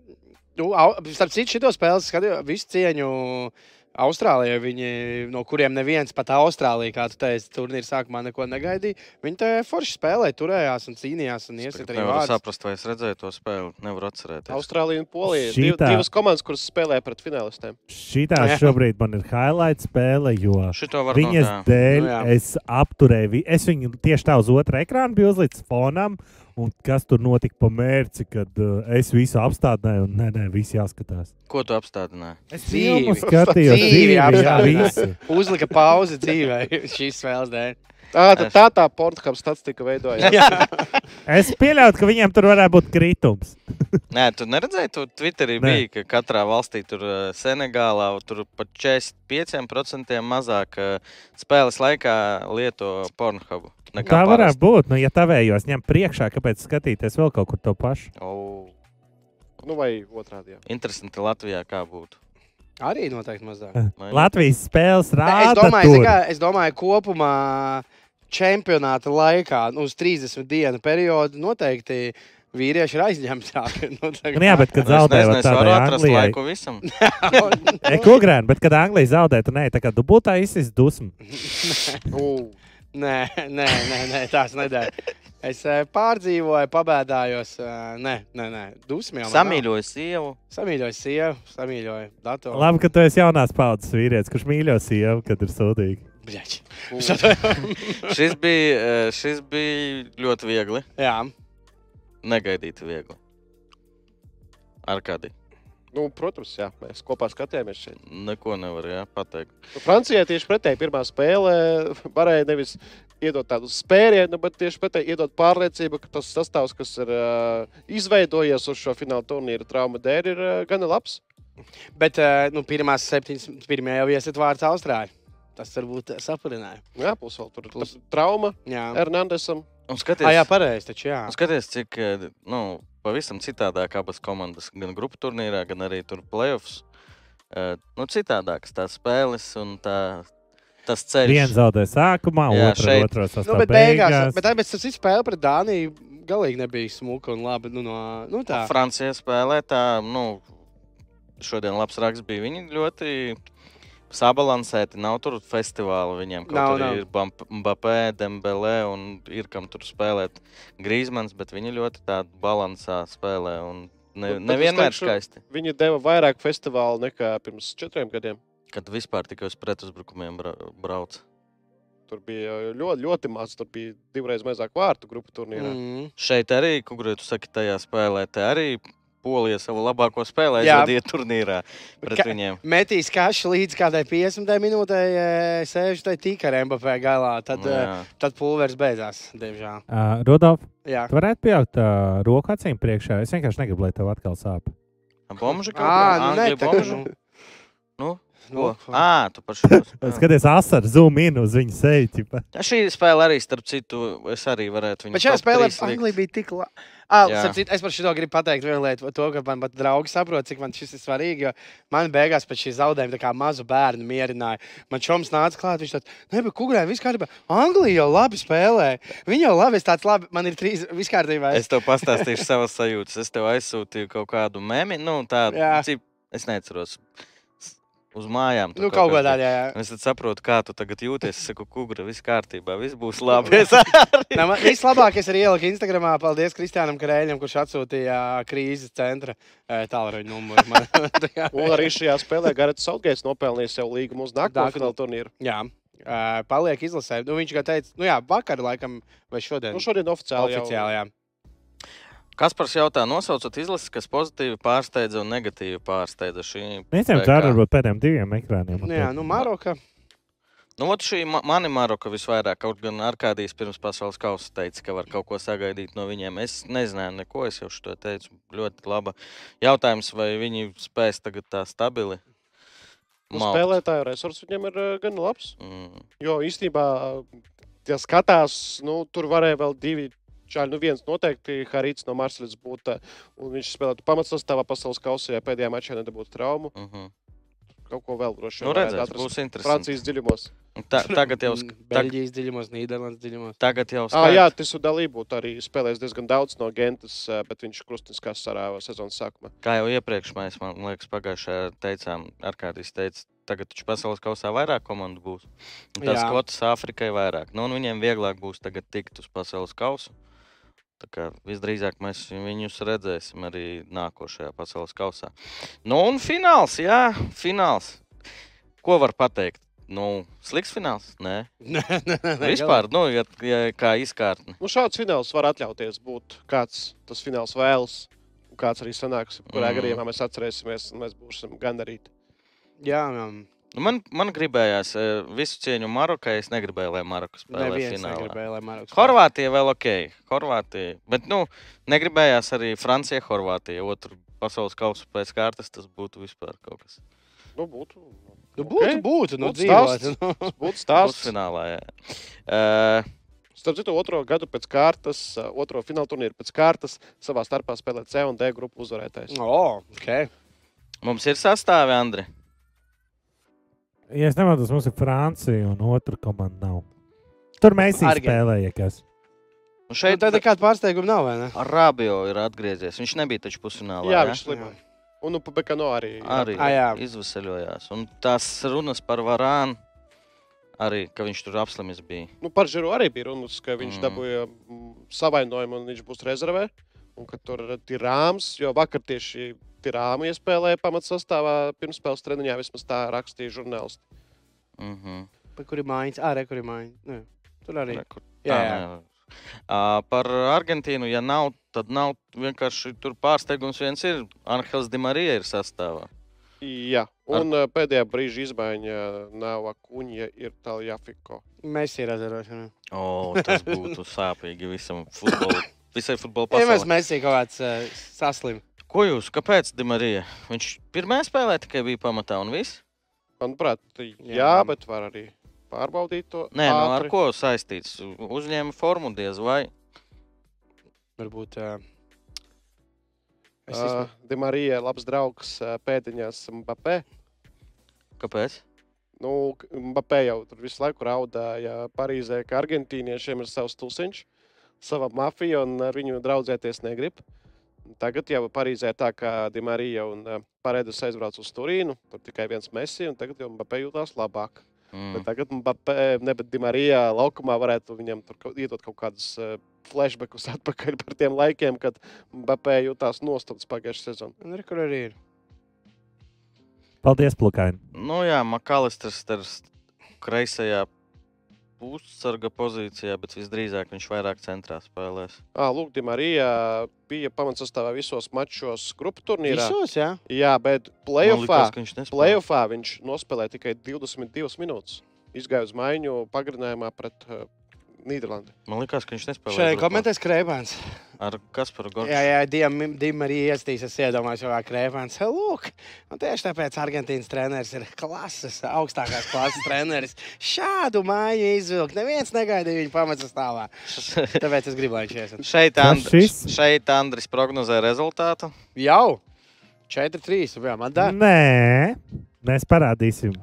[SPEAKER 3] nu, au- starp citu, šo spēli skatījos visu cieņu. Austrālijai, viņi, no kuriem neviens pat Austrālijā, kā tu teici, turnīra sākumā neko negaidīja. Viņi te forši spēlēja, turējās un cīnījās un
[SPEAKER 1] Es
[SPEAKER 3] iesaistīja arī
[SPEAKER 1] nevaru
[SPEAKER 3] vārdus.
[SPEAKER 1] saprast, vai es redzēju to spēli. Nevaru atcerēties.
[SPEAKER 2] Austrālija un Polija. Div,
[SPEAKER 4] Šitā.
[SPEAKER 2] divas komandas, kuras spēlē pret finālistiem.
[SPEAKER 4] Šitā
[SPEAKER 3] Jā.
[SPEAKER 4] šobrīd man ir highlight spēle, jo
[SPEAKER 1] Šito var notā-
[SPEAKER 4] viņas dēļ
[SPEAKER 3] Nu, jā.
[SPEAKER 4] es apturēju. vi- Es viņu tieši tā uz otru ekrānu biju uzlicis fonam, un kas tur notika pa mērci, kad uh, es visu apstādināju, un nē, nē, viss jāskatās.
[SPEAKER 1] Ko tu apstādināji?
[SPEAKER 4] Es
[SPEAKER 3] Dzīvi.
[SPEAKER 4] filmu skatījos,
[SPEAKER 3] Dzīvi
[SPEAKER 4] dzīvi, jā,
[SPEAKER 3] apstādināju.
[SPEAKER 4] visu.
[SPEAKER 3] Uzlika pauzi dzīvē šīs spēles dēļ.
[SPEAKER 2] Tā tad tā tā pornogrāfa statistika veidojās.
[SPEAKER 4] Es pieļauju, ka viņiem tur varētu būt kritums.
[SPEAKER 1] Nē, tu neredzēji, tu Twitterī
[SPEAKER 4] Nē.
[SPEAKER 1] bija, ka katrā valstī, tur eh, Senegālā, tur pat 45% mazāk eh, spēles laikā lieto pornogrāfu.
[SPEAKER 4] Tā varētu būt. Nu, ja tavējos ņem priekšā, kāpēc skatīties vēl kaut kur to pašu?
[SPEAKER 1] būt.
[SPEAKER 2] Nu, vai otrādi. Jā.
[SPEAKER 1] Interesanti Latvijā, kā būtu.
[SPEAKER 3] Arī noteikti mazāk.
[SPEAKER 1] Vai-
[SPEAKER 4] Latvijas spēles
[SPEAKER 3] Nē,
[SPEAKER 4] rāda.
[SPEAKER 3] Es domāju,
[SPEAKER 4] tur.
[SPEAKER 3] zini kā, es domāju, kopumā čempionāta laikā, nu, uz 30 dienu periodu, noteikti vīrieši ir aizņemtāki. Nu,
[SPEAKER 4] Nu, jā, bet kad
[SPEAKER 1] Nu, es
[SPEAKER 4] zaudēja
[SPEAKER 1] nezinu,
[SPEAKER 4] vat
[SPEAKER 1] es varu
[SPEAKER 4] tādai
[SPEAKER 1] atrast
[SPEAKER 4] Anglijai.
[SPEAKER 1] laiku visam.
[SPEAKER 4] E, Kukrēn, bet kad Anglija zaudēja, tad nē, tā kā dubultā izsist dusmu.
[SPEAKER 2] U,
[SPEAKER 3] nē, nē, nē, nē tās nedēļas. Es eh, pārdzīvoju, pabēdājos. eh, Nē, nē, nē. dusmīgi.
[SPEAKER 1] Samīļoju sievu.
[SPEAKER 3] Samīļoju sievu, samīļoju datoru.
[SPEAKER 4] Labi, ka tu esi jaunās paudzes vīrietis, kurš mīļo sievu, kad ir sūdīgi.
[SPEAKER 3] Bļaķi.
[SPEAKER 2] u.
[SPEAKER 1] Šis bija, eh, šis bija ļoti viegli.
[SPEAKER 3] Jā,
[SPEAKER 1] Negaidīti viegli. Ar kādi?
[SPEAKER 2] Nu, protams, jā, mēs kopā skatījāmies šeit.
[SPEAKER 1] Neko nevar jā, pateikt.
[SPEAKER 2] Nu, Francijai tieši pretēji pirmā spēle varēja nevis iedot tādu spērienu, bet tieši pretēji iedot pārliecību, ka tas sastāvs, kas ir uh, izveidojies uz šo fināla turnīra traumu dēļ, ir uh, gan labs.
[SPEAKER 3] bet eh, nu, pirmās septiņas, pirmie jau iesit vārds Austrālijā. Tas varbūt eh, saprināja.
[SPEAKER 2] Nu, Jā, būs vēl tur lab- trauma
[SPEAKER 3] Jā,
[SPEAKER 2] Hernandesam.
[SPEAKER 1] Un skaties,
[SPEAKER 3] Ah, jā pareizi. taču, Jā,
[SPEAKER 1] un skaties cik eh, nu, pavisam citādāk abas komandas, gan grupu turnīrā, gan arī tur playoffs. eh, nu, citādākas tās spēles un tā, tas ceļš.
[SPEAKER 4] Vienu zaudēja sākumā,
[SPEAKER 1] Jā,
[SPEAKER 4] otru
[SPEAKER 1] šeit.
[SPEAKER 4] otrā sastāvā.
[SPEAKER 3] Nu, bet beigās, bet tā bet tas ir spēle pret Dāniju. Galīgi nebija smuka un labi. Nu, no, nu tā.
[SPEAKER 1] Francijā spēlē tā, nu, šodien labs raksts bija. Viņi ļoti sabalansēti, nav tur festivāla viņiem. Kaut
[SPEAKER 3] Nav,
[SPEAKER 1] nav,
[SPEAKER 3] nav.
[SPEAKER 1] arī ir Bam- Mbappé, Dembelē un ir kam tur spēlēt Grīzmans, bet viņi ļoti tādu balansā spēlē un ne,
[SPEAKER 3] Nu,
[SPEAKER 2] Bet- bet es
[SPEAKER 1] nevienmēr
[SPEAKER 2] teikšu-
[SPEAKER 1] skaisti,
[SPEAKER 2] Viņi deva vairāk festivālu nekā pirms četriem gadiem.
[SPEAKER 1] kad vispār tikai uz pretuzbrukumiem bra brauc.
[SPEAKER 2] Tur bija ļoti, ļoti maz, tur bija divreiz mazāk vārtu grupu turnīrā. Mm.
[SPEAKER 3] Mm.
[SPEAKER 1] Šeit arī, kur jūs sakat, tajā spēlē, te arī Polija savu labāko spēlē
[SPEAKER 3] Jā.
[SPEAKER 1] aizvadīja turnīrā pret
[SPEAKER 3] Ka-
[SPEAKER 1] viņiem.
[SPEAKER 3] Metīs kašu līdz kādai 50 minūtei, e, sēž tajā tika ar MBP galā. Tad,
[SPEAKER 1] Nu,
[SPEAKER 3] eh,
[SPEAKER 1] jā.
[SPEAKER 3] tad pulveris beidzās, diemžēl.
[SPEAKER 4] Uh, Rudolf,
[SPEAKER 3] Jā,
[SPEAKER 4] tu varētu pieaugt uh, roka acīm priekšā. Es vienkārši negribu, lai tev atkal sāp.
[SPEAKER 1] Bomža kaut
[SPEAKER 3] Ā,
[SPEAKER 1] kā?
[SPEAKER 3] nu nē,
[SPEAKER 1] Angļu
[SPEAKER 3] tā kā,
[SPEAKER 1] bomža?
[SPEAKER 3] nu.
[SPEAKER 1] Nu,
[SPEAKER 3] Nu,
[SPEAKER 1] Ā, Ah, tu par šo spēli.
[SPEAKER 4] Skaties, asaras zoom in uz viņas seju. ķipa.
[SPEAKER 1] Ja šī spēle arī, starp citu, es arī varētu viņu
[SPEAKER 3] Bet šajā
[SPEAKER 1] top
[SPEAKER 3] spēlē
[SPEAKER 1] trīs likt.
[SPEAKER 3] Anglija bija tik labi. Ah,
[SPEAKER 1] Jā.
[SPEAKER 3] starp citu, es par šo gribu pateikt vienu lietu, to, ka man pat draugi saprot, cik man šis ir svarīgi. Jo man beigās pēc šī zaudējuma tā kā mazu bērnu mierināja. Man čoms nāca klāt, viņš tāds - nebija kungrē, viss kārtībā. Anglija jau labi spēlē. Viņa jau labi, es tāds labi, man ir trīs vispār kārtībā.
[SPEAKER 1] Es tev pastāstīšu savas sajūtas. Es tev aizsūtīju kaut kādu mēmī, nu, tādu,
[SPEAKER 3] Jā.
[SPEAKER 1] cip, es neatceros, S- uz mājām. tur
[SPEAKER 3] Nu, kaut
[SPEAKER 1] kas bija.
[SPEAKER 3] kādā jā. jā.
[SPEAKER 1] Un Es tad saprotu, kā tu tagad jūties. Es saku, kungra, viss kārtībā, viss būs labi. Es arī.
[SPEAKER 3] Nē, man vislabākais ir ielikt Instagramā. Paldies Kristiānam Krēļam, kurš atsūtīja krīzes centra eh, tālruņa numuru. Man, tā kā-
[SPEAKER 2] Un arī šajā spēlē Garants Sautgairs nopelnīja sev līgumu uz nākamo
[SPEAKER 3] Nākamo.
[SPEAKER 2] fināla turnīru.
[SPEAKER 3] jā, eh, paliek izlasē. Nu, viņš kā teica, nu jā, vakar laikam vai šodien.
[SPEAKER 2] Nu, šodien oficiāli,
[SPEAKER 3] Oficiāli, jā.
[SPEAKER 1] Kaspars jautā, nosaucot izlases, kas pozitīvi pārsteidza un negatīvi pārsteidza šī.
[SPEAKER 4] Mēs zinām,
[SPEAKER 1] PK.
[SPEAKER 4] tā ir varbūt pēdējiem diviem ekrāniem.
[SPEAKER 3] Nu, jā, nu, Maroka.
[SPEAKER 1] Nu, ot, šī ma mani Maroka visvairāk, kaut gan Arkādijas pirms pasaules kausa teica, ka var kaut ko sagaidīt no viņiem. Es nezināju, neko es jau šo teicu. Ļoti laba jautājums, vai viņi spēs tagad tā stabili. maukt.
[SPEAKER 2] jau nu, spēlētāju resurss viņam ir eh, gan labs.
[SPEAKER 1] Mm.
[SPEAKER 2] Jo īstenībā, eh, ja skatās, nu, tur varēja vēl divi. Čāļi, nu viens noteikti Harīts no Marsļas būtu, un viņš spēlētu pamatsastāvā pasaules kausā, ja pēdējā mačā nebūtu traumu.
[SPEAKER 1] Mm -hmm.
[SPEAKER 2] Kaut ko vēl droši
[SPEAKER 1] nu,
[SPEAKER 2] vien varētu
[SPEAKER 1] redzēs,
[SPEAKER 2] atrast
[SPEAKER 1] būs interesanti.
[SPEAKER 2] Francijas dziļumos.
[SPEAKER 1] Un Ta tagad jau sk- tag
[SPEAKER 3] Beļģijas dziļumos, Nīderlandes dziļumos.
[SPEAKER 1] tagad jau
[SPEAKER 2] Ah,
[SPEAKER 1] skaidrs.
[SPEAKER 2] jā, tas ir dalību. Arī spēlēs diezgan daudz no Gentas, eh, bet viņš krustiskā sarāva sezonas sākumā.
[SPEAKER 1] Kā jau iepriekš mēs, man liekas, pagājušajā teicām, Arkādijas teica, tagad taču pasaules kausā vairāk komandu būs. Un tās
[SPEAKER 3] Jā.
[SPEAKER 1] kvotas Āfrikai vairāk. Nu, un viņiem vieglāk būs tagad tikt uz pasaules kausu. Tā kā visdrīzāk mēs viņus redzēsim arī nākošajā pasaules kausā. Nu, un fināls, jā, fināls. Ko var pateikt? Nu, slikts fināls? Nē,
[SPEAKER 3] Nē, nē, nē, nē,
[SPEAKER 1] vispār, nu, ja, ja, kā izkārtne.
[SPEAKER 2] Nu, šāds fināls var atļauties būt kāds tas fināls vēlas. un Kāds arī sanāks, kurā
[SPEAKER 1] Mm.
[SPEAKER 2] mm. gadījumā mēs atcerēsimies, un mēs būsim gandarīti.
[SPEAKER 3] Jā, jā.
[SPEAKER 1] Nu, man, man gribējās eh, visu cieņu Marokai. Es negribēju, lai Maroka spēlē
[SPEAKER 3] Neviens
[SPEAKER 1] finālā.
[SPEAKER 3] negribēja, lai Maroks.
[SPEAKER 1] Horvātija vēl ok. Horvātija. Bet, nu, negribējās arī Francija, Horvātija. Otru pasaules kausa pēc kārtas tas būtu vispār kaut kas.
[SPEAKER 2] Nu, būtu,
[SPEAKER 3] Nu, būtu,
[SPEAKER 2] Ok.
[SPEAKER 3] būtu, nu,
[SPEAKER 2] Būtu
[SPEAKER 3] dzīvot.
[SPEAKER 2] stāsts.
[SPEAKER 3] nu.
[SPEAKER 1] Tas
[SPEAKER 2] būtu stāsts.
[SPEAKER 1] finālā. Jā. Uh,
[SPEAKER 2] Starp citu, otro gadu pēc kārtas, eh, otro fināla turnīru pēc kārtas, savā starpā spēlē C un D grupu
[SPEAKER 1] Nu,
[SPEAKER 2] uzvarētājs.
[SPEAKER 3] Nu, O, ok.
[SPEAKER 1] mums ir sastāvi, Andri.
[SPEAKER 4] Ja es nemaldos, mums ir Francija un otra komanda nav. Tur mēs
[SPEAKER 3] Argentīna.
[SPEAKER 4] spēlējāmies.
[SPEAKER 1] Nu,
[SPEAKER 3] Nu,
[SPEAKER 1] šeit
[SPEAKER 3] Tad
[SPEAKER 1] nu,
[SPEAKER 3] nekāda pārsteiguma nav, vai ne?
[SPEAKER 1] Rabio ir atgriezies. Viņš nebija taču pusfinālā.
[SPEAKER 2] Jā,
[SPEAKER 1] jā?
[SPEAKER 2] viņš slimo. Un nu, Pabekano arī.
[SPEAKER 1] arī
[SPEAKER 3] Ah, jā.
[SPEAKER 1] izvasaļojās. Un tās runas par varānu arī, ka viņš tur apslimis bija.
[SPEAKER 2] Nu, par Žiru arī bija runas, ka viņš
[SPEAKER 1] Mm.
[SPEAKER 2] mm. dabūja mm, savainojumu un viņš būs rezervē. Un ka tur ir rāms, jo vakar tieši Tirāna iespēlēja pamatsastāvā pirms spēles treniņā. Vismaz tā rakstīja žurnālisti.
[SPEAKER 1] Mm -hmm.
[SPEAKER 3] Pa kuri mājas? Ārē, kuri mājas? Tur arī.
[SPEAKER 1] Re, kur-
[SPEAKER 3] Jā,
[SPEAKER 1] tā,
[SPEAKER 3] jā.
[SPEAKER 1] nē. Ā, Par Argentīnu, ja nav, tad nav vienkārši tur pārsteigums. Viens ir Anhels Dimarija ir sastāvā.
[SPEAKER 2] Jā, un Ar... pēdējā brīža izmaiņa nav Akuņa, ir Taljafiko.
[SPEAKER 3] Mēs ir rezervēšana.
[SPEAKER 1] O, tas būtu sāpīgi visam futbolam. Visai futbola
[SPEAKER 3] Jā, mēs
[SPEAKER 1] pasaulē.
[SPEAKER 3] mēs ir kaut kāds eh, saslim.
[SPEAKER 1] Ko jūs, kāpēc Dimarija? Viņš pirmā spēlē tikai bija pamatā un viss.
[SPEAKER 2] Manuprāt, jā, jā,
[SPEAKER 3] Jā.
[SPEAKER 2] bet var arī pārbaudīt to.
[SPEAKER 1] Nē, nu, ar
[SPEAKER 2] ātri.
[SPEAKER 1] ko saistīts? Uzņēma formu diez vai.
[SPEAKER 3] Varbūt. eh, Es
[SPEAKER 2] Uh, Dimarija, labs draugs eh, pēdiņās Mbappé.
[SPEAKER 1] Kāpēc?
[SPEAKER 2] Nu, k- Mbappé jau tur visu laiku raudāja Parīzē, ka argentīniešiem ir savs tusiņš, sava mafija un ar viņu draudzēties negrib. Tagad jau Parīzē ir tā, ka Dimārija un eh, Paredes aizbrauc uz Turīnu, tur tikai viens messi, un tagad jau Mbappé jūtās labāk. Mm. Bet
[SPEAKER 1] Mm.
[SPEAKER 2] tagad Mbappé, ne, bet Dimārija laukumā varētu viņam tur kaut- iedot kaut kādus eh, flashbackus atpakaļ par tiem laikiem, kad Mbappé jutās nostumts pagājušajā sezonā.
[SPEAKER 3] Nu, re, kur arī ir.
[SPEAKER 4] Paldies, Plukaini.
[SPEAKER 1] Nu jā, Makalisters ir kreisajā pussarga pozīcijā, bet visdrīzāk viņš vairāk centrā spēlēs.
[SPEAKER 2] Ah, Lūk, Dimārija bija pamatsastāvā visos mačos grupu turnīrā.
[SPEAKER 3] Visos, jā.
[SPEAKER 2] Jā, bet
[SPEAKER 1] Man
[SPEAKER 2] playoffā,
[SPEAKER 1] liekas, ka viņš nespēlēs.
[SPEAKER 2] playoffā viņš nospēlēja tikai 22 minūtes. Izgāja uz maiņu pagarinājumā pret uh, Nīderlandi.
[SPEAKER 1] Man liekas, ka viņš nespēlēs.
[SPEAKER 3] Šai komentēs krēpāns.
[SPEAKER 1] ar Kasparu
[SPEAKER 3] Jā,
[SPEAKER 1] Gorču.
[SPEAKER 3] jā, Dīma arī iestīs, es iedomājos, jau kā krēpāns. Lūk, un tieši tāpēc Argentīnas treneris ir klases, augstākās klases treneris. Šādu māju izvilkt. Neviens negaidīja viņu pamatas stāvā. Tāpēc es gribu, lai viņš iesiet.
[SPEAKER 1] Šeit,
[SPEAKER 4] Kas
[SPEAKER 1] Andri,
[SPEAKER 4] šis?
[SPEAKER 1] šeit Andris prognozē rezultātu.
[SPEAKER 3] Jau 4-3. Jā, man da.
[SPEAKER 4] Nē, mēs parādīsim.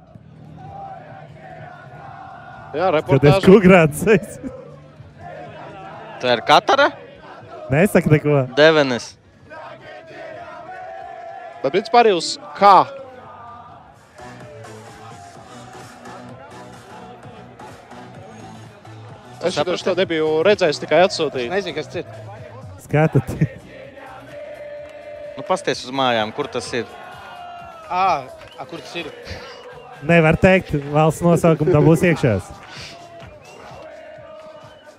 [SPEAKER 2] Jā,
[SPEAKER 4] Kad es
[SPEAKER 2] reportažā
[SPEAKER 4] kukurāts esmu.
[SPEAKER 1] Tā ir Katara,
[SPEAKER 4] Nesaka neko.
[SPEAKER 1] Devenis.
[SPEAKER 2] Bet principā arī uz kā. Es
[SPEAKER 1] saprati?
[SPEAKER 2] saprotu, to nebiju redzējis, tikai atsūtīju.
[SPEAKER 3] Mm. Nezinu, kas tas ir.
[SPEAKER 4] Skatot,
[SPEAKER 1] Nu, Pasties uz mājām, kur tas ir.
[SPEAKER 3] À, a, kur tas ir?
[SPEAKER 4] nevar teikt, valsts nosaukumu tam būs iekšā.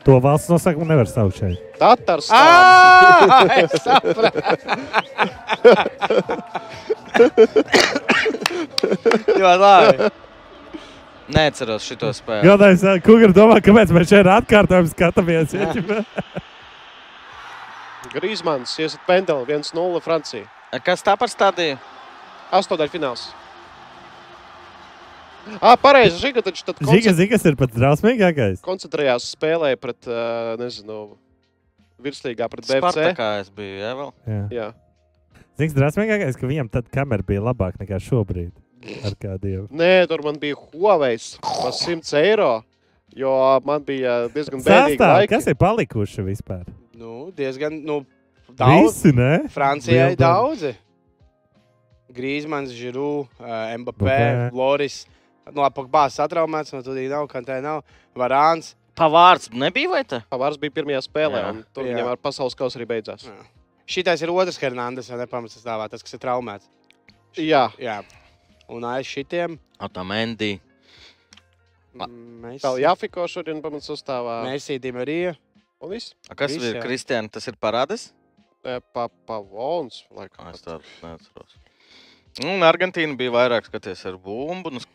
[SPEAKER 4] To valsts nosaukumu nevar saukt šeit.
[SPEAKER 2] Tatars.
[SPEAKER 3] Ah, es sapratu.
[SPEAKER 1] Ļoti labi. Neceros šo spēli.
[SPEAKER 4] Gādājums, kungi, eh, domā, kāpēc mēs šeit atkārtojam, skatāmies. Ja, ķipa?
[SPEAKER 2] Grīzmans, iesiet pendeli 1-0 Francija.
[SPEAKER 1] Kas tā par stadiju?
[SPEAKER 2] Astotdaļfināls. Ah, pareizi, Žiga, taču tad
[SPEAKER 4] Žiga, zina, kas ir pats drausmīgākais.
[SPEAKER 2] koncentrējās spēlē pret, eh, nezinu, virslīgā pret BFC.
[SPEAKER 1] Spartakā es biju. Jā, vēl.
[SPEAKER 4] Jā.
[SPEAKER 2] Jā.
[SPEAKER 4] Zini, kas drausmīgākais, ka viņam tad kamera bija labāka nekā šobrīd. Ar kādiem.
[SPEAKER 2] Nē, tur man bija Huawei par 100 eiro, jo man bija diezgan bēdīgi
[SPEAKER 4] Sastāv, kas
[SPEAKER 2] laiki.
[SPEAKER 4] ir palikuši vispār?
[SPEAKER 3] Nu, diezgan, nu, daudz.
[SPEAKER 4] Visi, nē?
[SPEAKER 3] Francijai
[SPEAKER 4] Lielbritānija.
[SPEAKER 3] daudzi. Grīzmans, Žiru, Mbappé,
[SPEAKER 4] Mbappé.
[SPEAKER 3] Loris. Nu, apakšbāzs atraumēts, no tur nav, kā tā nav. Varāns.
[SPEAKER 1] Pavārds nebija vai tā?
[SPEAKER 2] Pavārs bija pirmajā spēlē,
[SPEAKER 1] Jā.
[SPEAKER 2] un tur
[SPEAKER 3] Jā.
[SPEAKER 2] viņam ar pasaules kausu arī beidzās.
[SPEAKER 3] Šitais ir otrs Hernandez, vai nepamats stāvā, tas, kas ir traumēts.
[SPEAKER 2] Jā,
[SPEAKER 3] Jā. Un aiz šitiem
[SPEAKER 1] Ar tā Mendy. Ma-
[SPEAKER 3] mēs
[SPEAKER 2] tā Jāfiko šodien pamats sastāvā.
[SPEAKER 3] sīdījām arī.
[SPEAKER 2] Un viss.
[SPEAKER 1] A, Kas
[SPEAKER 3] Viss,
[SPEAKER 1] ir
[SPEAKER 3] jā.
[SPEAKER 1] Kristiāna? Tas ir parādis?
[SPEAKER 2] Eh, Pa, pavons, laikam.
[SPEAKER 1] Es tādu neatceros. Nu, Un Argentīna bija vairāk skaties ar bumbu. un uz-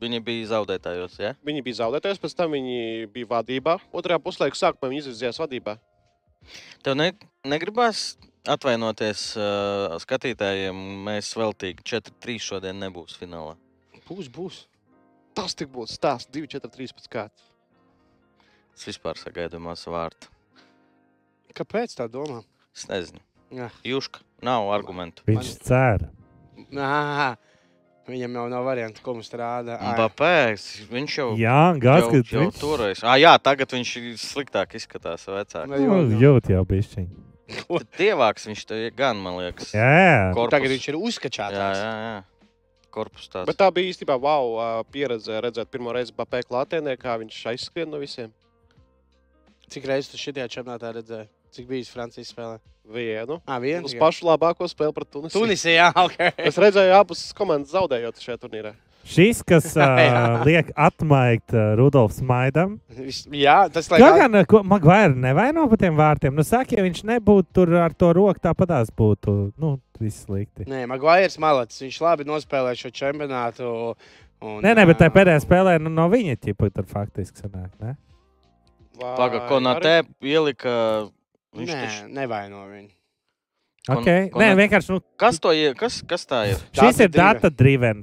[SPEAKER 1] Viņi bija zaudētājos. Ja?
[SPEAKER 2] Viņi bija zaudētājs, pēc tam viņi bija vadībā. Otrajā puslaikā sākumā viņi izvirzījās vadībā.
[SPEAKER 1] Tev ne, negribās atvainoties uh, skatītājiem. Mēs veltīgi 4-3 šodien nebūs finālā.
[SPEAKER 3] Būs, būs.
[SPEAKER 2] Tas tik būtu stāsts 2, 4, 3 pēc kārtas.
[SPEAKER 1] Es vispār sagaidāmās vārtu.
[SPEAKER 3] Kāpēc tā domā?
[SPEAKER 1] Es nezinu.
[SPEAKER 3] Jā.
[SPEAKER 1] Juška nav argumentu.
[SPEAKER 4] Viņš cer.
[SPEAKER 3] Nā, viņam jau nav variantu, ko mums strādā. Ai,
[SPEAKER 1] Mbappé, viņš jau
[SPEAKER 4] Jā, gāz,
[SPEAKER 1] jau,
[SPEAKER 4] ka
[SPEAKER 1] jau
[SPEAKER 4] viņš
[SPEAKER 1] toreiz. Ah, jā, tagad viņš ir sliktāk izskatās. Vecāk.
[SPEAKER 3] nu,
[SPEAKER 4] Nu,
[SPEAKER 3] jo, jo.
[SPEAKER 4] Jūt jau bišķiņ.
[SPEAKER 1] Tad Dievāks viņš tev ir gan, man liekas.
[SPEAKER 4] Jā,
[SPEAKER 1] Korpus.
[SPEAKER 3] Tagad viņš ir
[SPEAKER 1] jā, jā,
[SPEAKER 3] uzskačāts.
[SPEAKER 1] jā. Korpus tāds.
[SPEAKER 2] Bet tā bija īstenībā wow ā, pieredze redzēt pirmo reizi Bapē klātienē, kā viņš aizskrien no visiem.
[SPEAKER 3] Cik reizes tu šitajā čempionātā redzēji? Cik bijis Francijas spēlē?
[SPEAKER 2] Vienu.
[SPEAKER 3] Ah, viens.
[SPEAKER 2] Uz pašu labāko spēli pret Tunisiju.
[SPEAKER 3] Tunisijā, ok.
[SPEAKER 2] Es redzēju, abas komandas zaudējot šajā turnīrā.
[SPEAKER 4] šis, kas uh,
[SPEAKER 3] Jā.
[SPEAKER 4] liek atmaigt uh, Rudolfs Maidam,
[SPEAKER 3] Vis- Jā, tas
[SPEAKER 4] Kā
[SPEAKER 3] laikam.
[SPEAKER 4] gan Maguire nevaino par tiem vārtiem? Nu, saka, ja viņš nebūtu tur ar to roku, tāpatās būtu nu, viss slikti.
[SPEAKER 3] Nē, Maguires Malats. Viņš labi nospēlēja šo čempionātu. Un,
[SPEAKER 4] Nē, nē, bet tajā
[SPEAKER 3] ā,
[SPEAKER 4] pēdējā spēlē nu, no viņa ķipa tur faktiski sanāk. Ne?
[SPEAKER 2] Vai
[SPEAKER 1] Pagaidām, ko no
[SPEAKER 2] arī-
[SPEAKER 1] te ielika. Viņš
[SPEAKER 3] Nē,
[SPEAKER 1] taču
[SPEAKER 3] nevaino viņu.
[SPEAKER 1] Ko-
[SPEAKER 4] Okay.
[SPEAKER 1] ko
[SPEAKER 4] Nē,
[SPEAKER 1] ne-
[SPEAKER 4] vienkārši nu,
[SPEAKER 1] Kas, to ir, kas, kas tā ir?
[SPEAKER 4] šis ir
[SPEAKER 3] Data-driven.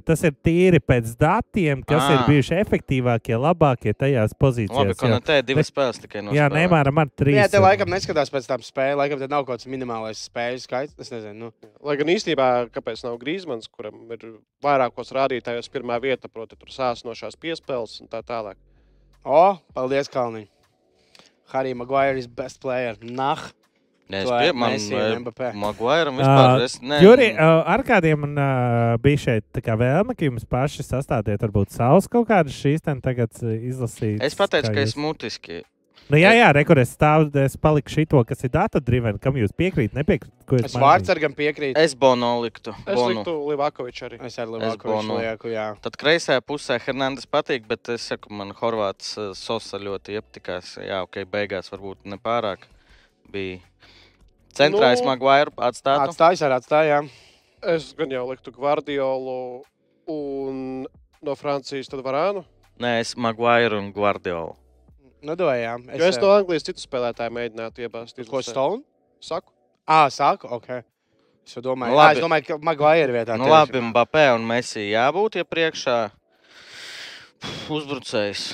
[SPEAKER 4] data-driven. Tas ir tīri pēc datiem, kas ah. ir
[SPEAKER 1] Ā.
[SPEAKER 4] bijuši efektīvākie, labākie tajās
[SPEAKER 1] Labi,
[SPEAKER 4] pozīcijās.
[SPEAKER 1] ka
[SPEAKER 4] jā.
[SPEAKER 1] ne te divas spēles tikai no.
[SPEAKER 4] Jā, nemēram, ar trīs.
[SPEAKER 3] Nē, te
[SPEAKER 4] ir.
[SPEAKER 3] Nu, laikam neskatās pēc tam spēļu. Laikam te nav kaut kāds minimālais spēļu skaits. Es nezinu. Nu.
[SPEAKER 2] Lai gan īstenībā, kāpēc nav Grīsmans, kuram ir vairākos rādītājos pirmā vieta, proti, tur sāsnošās piespēles un tā tālāk.
[SPEAKER 3] O, paldies, Kalniņ. Harry Maguire is best player. Nah,
[SPEAKER 1] Nē, es
[SPEAKER 3] To
[SPEAKER 1] pie
[SPEAKER 3] ar Messi un
[SPEAKER 1] manis.
[SPEAKER 3] Mbappé.
[SPEAKER 1] Maguairam vispār.
[SPEAKER 4] Ā,
[SPEAKER 1] es ne-
[SPEAKER 4] Ah, Juri, uh, ar kādiem man uh, bija šeit tā kā vēlme, ka jums paši sastādiet varbūt savus kaut kādus šīs ten tagad eh, izlasīt?
[SPEAKER 1] Es pateicu, ka es mutiski.
[SPEAKER 4] Nu, jā, jā, rekur, es stāvu, es paliku šito, kas ir data-driven, kam jūs piekrīt, nepiekrīt, ko es
[SPEAKER 3] es Vārtsargam piekrītu.
[SPEAKER 1] Es Bono liktu.
[SPEAKER 2] Es
[SPEAKER 1] Bonu.
[SPEAKER 2] liktu Livakoviču arī.
[SPEAKER 3] Es ar
[SPEAKER 1] Bonu.
[SPEAKER 3] Livakoviču lieku, jā.
[SPEAKER 1] Tad kreisajā pusē Hernandez patīk, bet es saku, man Horvāts eh, Sosa ļoti iepatikās. Jā, ok, beigās varbūt ne pārāk bija. Centrā es
[SPEAKER 2] Nu,
[SPEAKER 1] Maguairu atstātu.
[SPEAKER 3] Atstājis ar atstājām.
[SPEAKER 2] Es gan jau liktu Gvardiolu un no Francijas tad Varānu.
[SPEAKER 1] Nē, es Maguairu un Guardiolu.
[SPEAKER 3] Nu, dojām.
[SPEAKER 2] Jo es no Anglijas citu spēlētāju mēģinātu iebāzt.
[SPEAKER 3] Ko
[SPEAKER 2] izlasē.
[SPEAKER 3] Stone?
[SPEAKER 2] Saku.
[SPEAKER 3] Ā, sāku? Ok. Es jau domāju,
[SPEAKER 1] Nu,
[SPEAKER 3] Ā,
[SPEAKER 1] labi.
[SPEAKER 3] es domāju ka Maguire vietā.
[SPEAKER 1] Nu,
[SPEAKER 3] tieši.
[SPEAKER 1] labi, Mbappé un Messi jābūt iepriekšā. Uzbrucējs.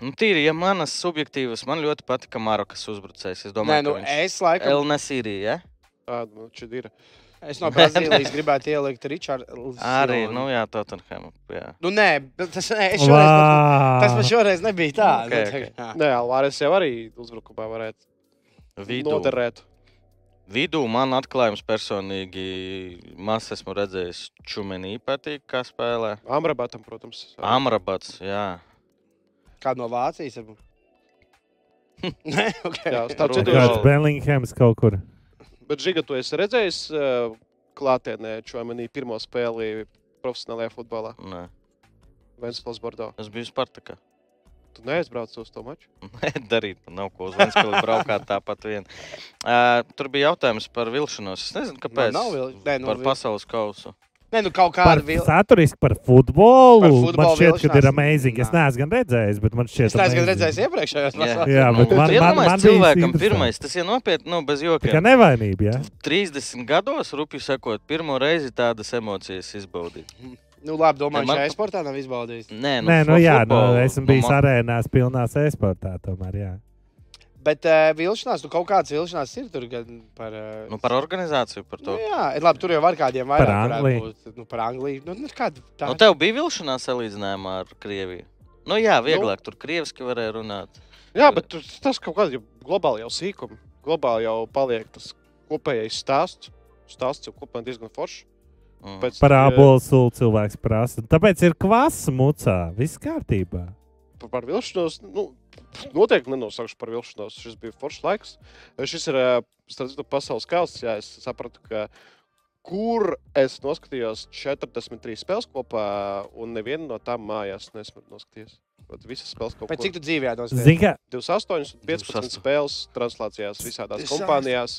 [SPEAKER 1] Nu, tīri, ja manas subjektīvas, man ļoti patika Marokas uzbrucējs. Es
[SPEAKER 3] Nē,
[SPEAKER 1] domāju,
[SPEAKER 3] nu,
[SPEAKER 1] ka viņš
[SPEAKER 3] es laikam.
[SPEAKER 1] Elnesīrī, ja?
[SPEAKER 2] Tāda nu, čid ir.
[SPEAKER 3] Es no Brazīlijas gribētu ielikt Richardu.
[SPEAKER 1] Arī, nu jā, Tottenham. Jā.
[SPEAKER 3] Nu, nē, bet tas, nē, es šoreiz, tas man
[SPEAKER 4] Vā!
[SPEAKER 3] šoreiz nebija tā.
[SPEAKER 1] Ok,
[SPEAKER 3] nu,
[SPEAKER 1] ok.
[SPEAKER 3] tā kā-
[SPEAKER 2] Nē, Alvarez jau arī uzbrukumā varētu
[SPEAKER 3] Nu,
[SPEAKER 1] Vidū.
[SPEAKER 2] noderēt.
[SPEAKER 1] Vidū man atklājums personīgi, maz esmu redzējis, čumenī patīk, kā spēlē.
[SPEAKER 2] Amrabatam, protams.
[SPEAKER 1] Amrabats, jā.
[SPEAKER 3] Kādu no Vācijas? varbūt? Nē, okay.
[SPEAKER 2] Jā, starp
[SPEAKER 1] Runa.
[SPEAKER 2] citu,
[SPEAKER 4] Kāds Bellinghams kaut kur.
[SPEAKER 2] Bet, Žiga, tu esi redzējis uh, klātienē Čuamanī pirmo spēli profesionālajā futbolā
[SPEAKER 1] Nē,
[SPEAKER 2] Vēnspils Bordeaux.
[SPEAKER 1] eh, es biju Spartakā.
[SPEAKER 2] Tu neaizbrauc uz to maču?
[SPEAKER 1] Darīt man nav ko uz Ventspili braukāt tāpat vien. Uh, tur bija jautājums par vilšanos. Es nezinu, kāpēc.
[SPEAKER 3] nav vil- nē, nu,
[SPEAKER 1] par
[SPEAKER 3] vil-
[SPEAKER 1] pasaules kausu.
[SPEAKER 3] Nē, nu kaut
[SPEAKER 4] Par
[SPEAKER 3] kāda vilna.
[SPEAKER 4] saturiski, par futbolu.
[SPEAKER 3] Par futbolu
[SPEAKER 4] man šķiet, ka ir
[SPEAKER 3] vilšanās?
[SPEAKER 4] amazing. Es
[SPEAKER 3] Nā.
[SPEAKER 4] neesmu gan redzējis, bet man šķiet,
[SPEAKER 3] Es neesmu
[SPEAKER 4] amazing.
[SPEAKER 3] redzējis iepriekšējos pasaules.
[SPEAKER 4] Jā, bet man-
[SPEAKER 1] ir
[SPEAKER 4] man- man bija
[SPEAKER 1] Nu, cilvēkam
[SPEAKER 4] interesanti.
[SPEAKER 1] pirmais, tas ir nopietni, nu, bez
[SPEAKER 4] Tā kā
[SPEAKER 1] jokiem.
[SPEAKER 4] nevainība, jā.
[SPEAKER 1] 30 gados, rupi sakot, pirmo reizi tādas emocijas izbaudīt.
[SPEAKER 3] Nu, labi, domāju,
[SPEAKER 1] Nē, man-
[SPEAKER 3] šajā sportā nav izbaudījis.
[SPEAKER 1] Nē, nu,
[SPEAKER 4] Nē, nu
[SPEAKER 1] fu-
[SPEAKER 4] jā, nu,
[SPEAKER 1] futbolu,
[SPEAKER 4] esmu bijis
[SPEAKER 1] man-
[SPEAKER 4] arēnās pilnās e-sportā tomēr, jā.
[SPEAKER 3] Bet uh, vilšanās, nu kaut kādas vilšanās ir tur gan par. Uh,
[SPEAKER 1] Nu, par organizāciju, par to.
[SPEAKER 3] Nu, jā, ir labi, tur jau var kādiem vairāk.
[SPEAKER 4] Par
[SPEAKER 3] varētu
[SPEAKER 4] Angliju.
[SPEAKER 3] būt. Nu, par Angliju. Nu, nu, kāda tā
[SPEAKER 1] Nu, tev bija vilšanās salīdzinājumā ar Krieviju. Nu, jā, vieglāk tur krieviski varēja runāt.
[SPEAKER 2] Jā, bet tu, tas kaut kādā globāli jau sīkumi. Globāli jau paliek tas kopējais stāsts. Stāsts jau kopumā diezgan foršs.
[SPEAKER 1] Mm.
[SPEAKER 2] Pēc,
[SPEAKER 4] Par
[SPEAKER 2] eh,
[SPEAKER 4] abolu sulu cilvēks prasa. Tāpēc ir kvass mucā. Viss kārtībā.
[SPEAKER 2] par, par vilšanos. Nu, noteikti nenosaukšu par vilšanos. Šis bija foršs laiks. Šis ir eh, starp citu, pasaules kausa. Jā, es sapratu, ka kur es noskatījos 43 spēles kopā, un nevienu no tām mājās nesmu noskatījies. Vat Visas spēles kopā.
[SPEAKER 3] Pēc cik tu dzīvē jādodas?
[SPEAKER 4] Zini, kā
[SPEAKER 2] 28 un 15
[SPEAKER 1] 28.
[SPEAKER 2] spēles translācijās visādās
[SPEAKER 3] Es-
[SPEAKER 2] kompānijās.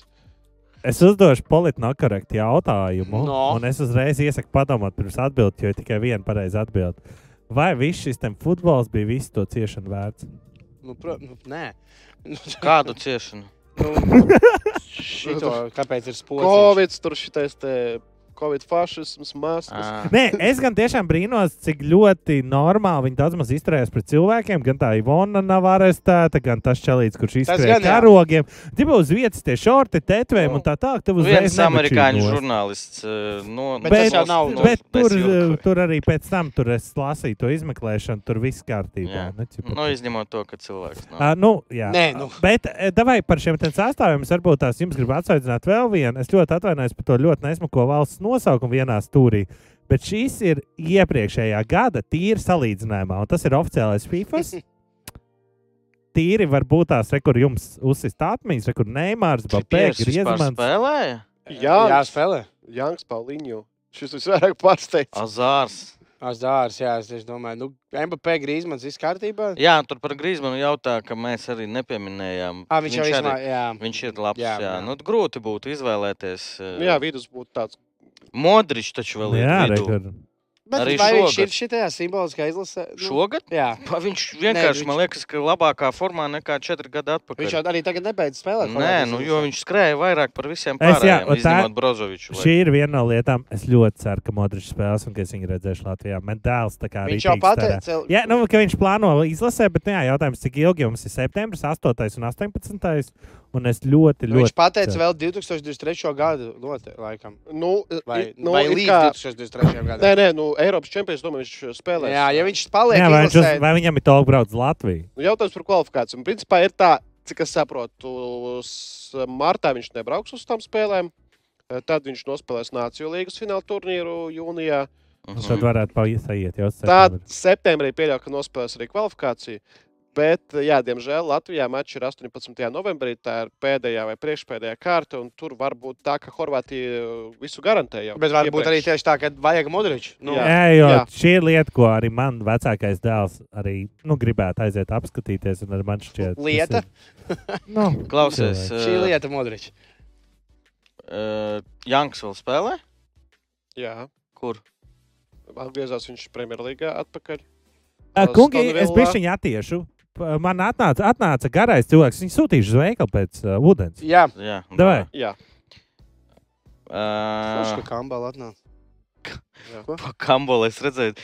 [SPEAKER 4] es uzdošu politnokorektu jautājumu,
[SPEAKER 3] No.
[SPEAKER 4] un es uzreiz iesaku padomāt pirms atbildēt, jo ir tikai viena pareiza atbilde. Vai viss šis tam futbols bija visu to ciešanu vērts?
[SPEAKER 3] Nu, pro... nu, nē. Nu,
[SPEAKER 1] Kādu ciešanu?
[SPEAKER 3] Nu, šito, kāpēc ir spoks?
[SPEAKER 2] Covid, tur šitais te Covid fašisms, maskas.
[SPEAKER 1] Ā.
[SPEAKER 4] Nē, es gan tiešām brīnos, cik ļoti normāli viņi daudz maz izturējās pret cilvēkiem. Gan tā Ivona nav arestēta, gan tas čelīts, kurš
[SPEAKER 3] Tas
[SPEAKER 4] izturējās
[SPEAKER 3] gan, jā.
[SPEAKER 4] karogiem. Gribu uz vietas tie šorti, tetvēm
[SPEAKER 1] Nu,
[SPEAKER 4] un tā tālāk. Tev uzreiz
[SPEAKER 1] Viens amerikāņu
[SPEAKER 4] nebačītos.
[SPEAKER 1] žurnālists. eh, No,
[SPEAKER 3] Bet tas jau nav-
[SPEAKER 1] no-
[SPEAKER 4] bet
[SPEAKER 1] bez
[SPEAKER 4] tur,
[SPEAKER 1] Jurkava.
[SPEAKER 4] eh, tur arī pēc tam tur es lasīju to izmeklēšanu, tur viss kārtībā.
[SPEAKER 1] Jā.
[SPEAKER 4] Nu, cipa.
[SPEAKER 1] Nu, izņemot to, ka cilvēks nav.
[SPEAKER 4] Ā, nu, jā,
[SPEAKER 3] Nē, nu.
[SPEAKER 4] bet eh, davai par šiem te sastāviem. Es varbūt tās jums gribu atsaucināt vēl vienu. Es ļoti atvainojos par to ļoti nesmuko valsts nosaukumu vienā stūrī. Bet šis ir iepriekšējā gada tīri salīdzinājumā, un tas ir oficiālais FIFA. Tīri var būt tās, re, kur jums uzsist atmiņas, re, kur Neimārs, Bapēks,
[SPEAKER 1] Tripieris vispār
[SPEAKER 4] Griezmans.
[SPEAKER 1] spēlēja?
[SPEAKER 2] Jā,
[SPEAKER 3] Jā, spēlē.
[SPEAKER 2] Jānis Pauliņš. Šis visvairāk
[SPEAKER 1] Ah.
[SPEAKER 2] pārsteidz.
[SPEAKER 1] Azārs.
[SPEAKER 3] Azdārs, jā, es tieši domāju, nu, MVP Grīsmans viss kārtībā.
[SPEAKER 1] Jā, tur par Grīsmanu jautā, ka mēs arī nepieminējām.
[SPEAKER 3] Ah, viņš, viņš
[SPEAKER 1] arī-
[SPEAKER 3] jau izmā, jā.
[SPEAKER 1] Viņš ir labs. Jā,
[SPEAKER 3] Jā,
[SPEAKER 1] jā.
[SPEAKER 3] jā. Nu
[SPEAKER 1] Nu, grūti būtu izvēlēties. eh,
[SPEAKER 2] Jā, Nu vidus būtu tāds.
[SPEAKER 1] Modričs taču vēl ir.
[SPEAKER 4] Jā, re,
[SPEAKER 1] vidū.
[SPEAKER 4] kur.
[SPEAKER 3] Bet
[SPEAKER 1] Arī
[SPEAKER 3] vai viņš
[SPEAKER 1] šogad.
[SPEAKER 3] ir šitajā simboliskā izlasē? Nu,
[SPEAKER 1] Šogad?
[SPEAKER 3] Jā.
[SPEAKER 1] Pa, viņš vienkārši,
[SPEAKER 3] viņš-
[SPEAKER 1] man liekas, ka labākā formā nekā četri gadi atpakaļ.
[SPEAKER 3] Viņš jau arī tagad nebeidz spēlēt.
[SPEAKER 1] Nē, nu, jo viņš skrēja vairāk par visiem
[SPEAKER 4] Es, jā,
[SPEAKER 1] pārējiem,
[SPEAKER 4] un tā-
[SPEAKER 1] izņemot Brozoviču.
[SPEAKER 4] Šī ir viena no lietām. Es ļoti ceru, ka Modričs spēlēs un ka es viņu redzēšu Latvijā. Man dēls tā kā
[SPEAKER 3] Viņš jau
[SPEAKER 4] rītīgi starā.
[SPEAKER 3] pateica,
[SPEAKER 4] Jā, nu, ka viņš plāno izlasē, bet nu, jā, jautājums, cik ilgi jums ir septembris, 8. un 18. Un es ļoti,
[SPEAKER 3] nu, viņš
[SPEAKER 4] ļoti.
[SPEAKER 3] pateica
[SPEAKER 4] ceru.
[SPEAKER 3] vēl 2023. gadu, note, laikam.
[SPEAKER 2] Nu,
[SPEAKER 3] Vai,
[SPEAKER 2] nu,
[SPEAKER 3] vai
[SPEAKER 2] ir
[SPEAKER 3] līdz
[SPEAKER 2] kā-
[SPEAKER 3] 2023. gadam.
[SPEAKER 2] Nē, nē, nu, Eiropas čempions, domāju, viņš spēlēs.
[SPEAKER 3] Jā, ja viņš paliek,
[SPEAKER 4] Jā, vai, viņš uz,
[SPEAKER 3] izlasē,
[SPEAKER 4] vai viņam ir tālu braukt uz Latviju?
[SPEAKER 2] Nu, Jautājums par kvalifikāciju. Principā ir tā, cik es saprotu, s- martā viņš nebrauks uz tām spēlēm. eh, Tad viņš nospēlēs Nāciju līnijas fināla turnīru jūnijā.
[SPEAKER 1] Mhm.
[SPEAKER 3] Mhm.
[SPEAKER 4] Un Tad varētu paiet jau uz
[SPEAKER 2] Tad septembrī
[SPEAKER 4] septembri.
[SPEAKER 2] pieļauju, ka nospēlēs arī kvalifikāciju. Bet, eh, jā, diemžēl Latvijā mačs ir 18. novembrī. Tā ir pēdējā vai priekšpēdējā kārta. un Tur var būt tā, ka Horvātija eh, visu garantē jau.
[SPEAKER 3] bet varbūt arī
[SPEAKER 2] iepriekš.
[SPEAKER 3] tieši tā, ka vajag Modriču. Nu,
[SPEAKER 2] Jā.
[SPEAKER 4] Jā, jo
[SPEAKER 2] jā.
[SPEAKER 4] šī ir lieta, ko arī man vecākais dēls arī nu, gribētu aiziet apskatīties. un arī Man šķiet, tas
[SPEAKER 3] Lieta?
[SPEAKER 4] ir- Nu,
[SPEAKER 1] Klausies, eh,
[SPEAKER 4] cilvēks.
[SPEAKER 3] šī lieta Modriča.
[SPEAKER 1] uh, Janks vēl spēlē?
[SPEAKER 2] Jā,
[SPEAKER 1] Kur?
[SPEAKER 2] atgriezās viņš Premjerlīgā atpakaļ.
[SPEAKER 4] Ā, Kungi,
[SPEAKER 2] Aston
[SPEAKER 4] es
[SPEAKER 2] Villā.
[SPEAKER 4] bišķiņu attiešu. P- Man atnāca, atnāca garais cilvēks. Viņu sūtīšu uz veikalu pēc uh, ūdens.
[SPEAKER 3] Jā,
[SPEAKER 1] Jā,
[SPEAKER 4] Davai.
[SPEAKER 2] Jā,
[SPEAKER 3] viņš
[SPEAKER 1] Uh,
[SPEAKER 3] kā kambala atnāca.
[SPEAKER 1] pa kambolē es redzēju,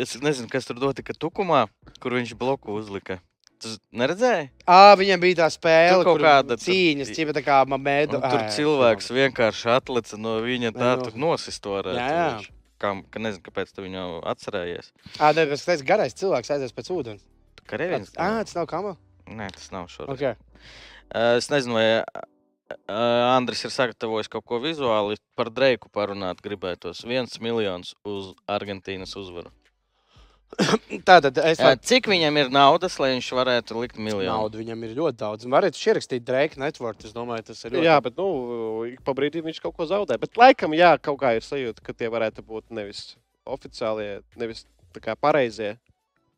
[SPEAKER 1] es nezinu, kas tur notika tukumā, kur viņš bloku uzlika. Tu z- neredzēji?
[SPEAKER 3] Ā, viņam bija tā spēle,
[SPEAKER 1] Tur kaut
[SPEAKER 3] kur
[SPEAKER 1] kāda tur-
[SPEAKER 3] cīņas, cīņa tā
[SPEAKER 1] Un
[SPEAKER 3] kā mamēda.
[SPEAKER 1] Tur cilvēks vienkārši atlica no viņa tā,
[SPEAKER 3] nu.
[SPEAKER 1] tur nosistorē.
[SPEAKER 3] Jā, jā.
[SPEAKER 1] Kam, ka nezinu, kāpēc tu viņu atcerējies.
[SPEAKER 3] Ā, nē, tas tas garais cilvēks aizies pēc ūdens.
[SPEAKER 1] Tu Karavīns?
[SPEAKER 3] Ā, tas nav kambala.
[SPEAKER 1] Nē, tas nav šodien.
[SPEAKER 3] Okay.
[SPEAKER 1] Uh, Es nezinu, vai uh, Andris ir sagatavojis kaut ko vizuāli par Dreiku parunāt. Gribētos viens miljons uz Argentīnas uzvaru.
[SPEAKER 3] Tātad es
[SPEAKER 1] Uh,
[SPEAKER 3] tādu
[SPEAKER 1] Cik viņam ir naudas, lai viņš varētu likt miljonu?
[SPEAKER 3] naudu viņam ir ļoti daudz. Un Varat ierakstīt Drake Network, es domāju, tas ir ļoti.
[SPEAKER 2] jā bet nu, ik pa brīdim viņš kaut ko zaudē. Bet laikam, jā, kaut kā ir sajūta, ka tie varētu būt nevis oficiālie, nevis tā kā pareizie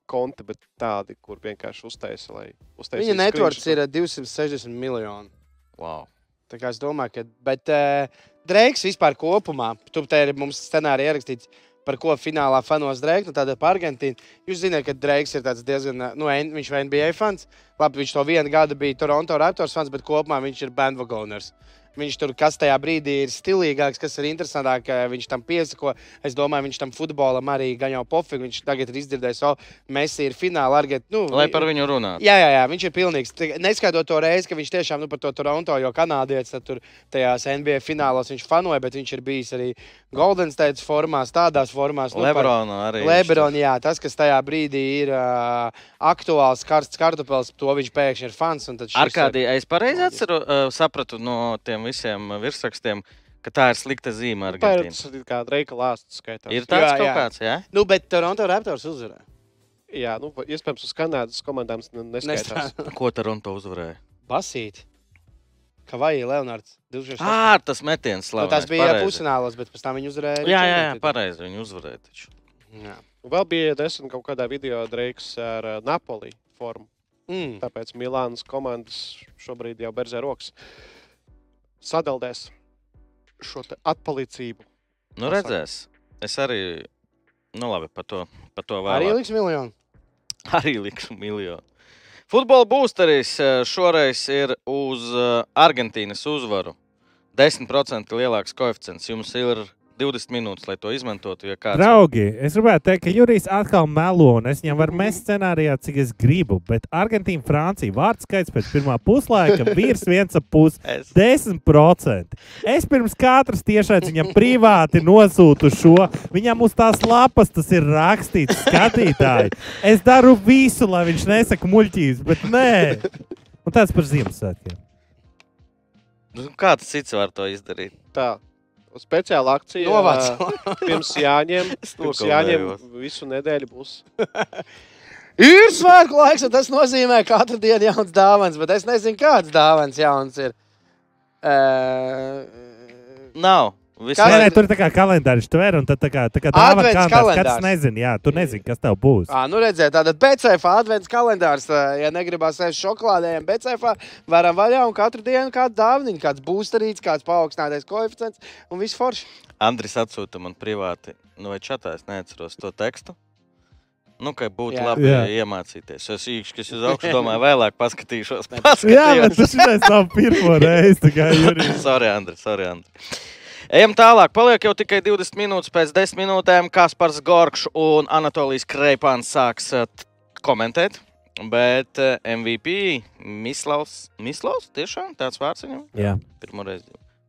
[SPEAKER 2] konti, bet tādi, kur vienkārši uztaisa, lai uztaisītu.
[SPEAKER 3] Viņa networks
[SPEAKER 2] screenshot.
[SPEAKER 3] ir eh, 260 miljoni.
[SPEAKER 1] Wow.
[SPEAKER 3] Tā kā es domāju, ka. Bet uh, Dreiks vispār kopumā, tu te ir mums scenārija ierakstīts. Par ko finālā fanos Dreiks, nu tāda par Argentīnu. Jūs zināt, ka Dreiks ir tāds diezgan, eh, nu, N- viņš ir NBA fans. Labi, viņš to vienu gadu bija Toronto Raptors fans, bet kopumā viņš ir bandvagoners. Viņš tur, kas tajā brīdī ir stilīgāks, kas ir interesantāk, eh, viņš tam piesako. Es domāju, viņš tam futbolam arī gan jau pofīgi. Viņš tagad ir izdzirdējis, o, Messi ir finālā. Argent... Nu,
[SPEAKER 1] Lai
[SPEAKER 3] vi-
[SPEAKER 1] par viņu runātu.
[SPEAKER 3] Jā, jā, jā, viņš ir pilnīgs. Tik- Neskaidrot to reizi, ka viņš tiešām nu, par to Toronto, jo kanādietis tad tur tajās NBA finālos viņš fanoja, bet viņš ir bijis arī Golden State formās, tādās formās. nu, par-
[SPEAKER 1] Lebrona arī.
[SPEAKER 3] Lebron, jā, tas, kas tajā brīdī ir uh, aktuāls, karsts kartupēlis, to viņš pēkšņi ir fans. un tad šis
[SPEAKER 1] Ar
[SPEAKER 3] ir-
[SPEAKER 1] kādiem es pareizi atceru, uh, sapratu no tiem visiem uh, virsrakstiem, ka tā ir slikta zīme
[SPEAKER 2] Tā ir
[SPEAKER 1] Argentīnai.
[SPEAKER 2] tas, kā Dreika lāsts skaitā.
[SPEAKER 1] Ir tāds
[SPEAKER 3] Nu, Jā,
[SPEAKER 1] kaut
[SPEAKER 3] jā.
[SPEAKER 1] kāds, jā?
[SPEAKER 3] Nu, bet Toronto Raptors uzvarēja.
[SPEAKER 2] Jā, nu, va- iespējams, uz Kanādas komandām ne- neskaitās.
[SPEAKER 3] Nestāv-
[SPEAKER 1] Ko Toronto uzvarēja?
[SPEAKER 3] Basīt. Kavai Leonards 2006.
[SPEAKER 1] Ā, tas metiens
[SPEAKER 3] Nu,
[SPEAKER 1] Ah, labi.
[SPEAKER 3] tas bija pusfināls, bet pēc tam viņi uzvarēja.
[SPEAKER 1] Jā, jā, jā,
[SPEAKER 3] Čempionshipā.
[SPEAKER 1] pareizi viņi uzvarēja. Taču.
[SPEAKER 3] Jā.
[SPEAKER 2] Un Vēl bija desmit kaut kādā video Dreiks ar eh, Napoli formu.
[SPEAKER 3] Mm.
[SPEAKER 2] Tāpēc Milānas komandas šobrīd jau berzē rokas. Sadaldēs šo te atpalicību.
[SPEAKER 1] Nu,
[SPEAKER 2] Pasaka.
[SPEAKER 1] redzēs. Es arī, nu, labi, par to, par to vēl.
[SPEAKER 3] Arī liks miljonu.
[SPEAKER 1] arī likšu miljonu. Futbola būsteris šoreiz ir uz eh, Argentīnas uzvaru. 10% lielāks koeficients. Jums ir 20 minūtes, lai to izmantotu. Ja kāds
[SPEAKER 4] Draugi, es gribētu teikt, ka Jurijs atkal melo, un es viņam varu mest scenārijā, cik es gribu. Bet Argentīna, Francija, vārds skaits pēc pirmā puslaika, vīrs viens ap pusi.
[SPEAKER 1] Es.
[SPEAKER 4] 10%. Es pirms katras tiešais viņam privāti nosūtu šo. Viņam uz tās lapas tas ir rakstīts, skatītāji. Es daru visu, lai viņš nesaka muļķības, bet nē. Un tāds par Ziemassvētkiem.
[SPEAKER 1] Nu, Kāds cits var to izdarīt?
[SPEAKER 2] Tā speciāla akcija. eh,
[SPEAKER 3] Novāc.
[SPEAKER 2] Pirms jāņem,
[SPEAKER 1] Es
[SPEAKER 2] pirms jāņem
[SPEAKER 1] nokaunējos.
[SPEAKER 2] visu nedēļu būs.
[SPEAKER 3] Ir svētku laiks, un tas nozīmē, ka katru dienu ir jauns dāvāns. Bet es nezinu, kāds dāvāns jauns ir. Uh,
[SPEAKER 1] Nav.
[SPEAKER 4] Nē,
[SPEAKER 1] Vismaz
[SPEAKER 4] nē, tur ir tā kā kalendārs tver, un tad tā kā, tā kā dāvana
[SPEAKER 3] Advents
[SPEAKER 4] kalendārs.
[SPEAKER 3] kalendārs.
[SPEAKER 4] Kāds nezin, jā, tu nezini, kas tev būs.
[SPEAKER 3] à, nu redziet, tāda BCFA advents kalendārs. ā, Ja negribas aiz šokolādēm, BCFA varam vaļā un katru dienu kādu dāvaniņu, kāds būsterīts, kāds paaugstinātais koeficients un viss forši.
[SPEAKER 1] Andris atsūta man privāti. nu, vai čatā, es neatceros to tekstu. Nu, ka būtu
[SPEAKER 3] Jā.
[SPEAKER 1] labi
[SPEAKER 4] Jā.
[SPEAKER 1] iemācīties. Es īkšķis uz augšu domāju, vēlāk paskatīšos.
[SPEAKER 4] Jā, bet
[SPEAKER 1] paskatīšos.
[SPEAKER 4] tas ir tāds pirmo reizi. tā kā Jurijs.
[SPEAKER 1] sorry, Andri, sorry, Andri. Ejam tālāk. Paliek jau tikai 20 minūtes. Pēc 10 minūtēm Kaspars Gorčs un Anatolijas Kreipāns sāks eh, t- komentēt. Bet eh, MVP Mislaus, Mislaus tiešām tāds vārds viņam
[SPEAKER 4] Jā.
[SPEAKER 1] pirmoreiz.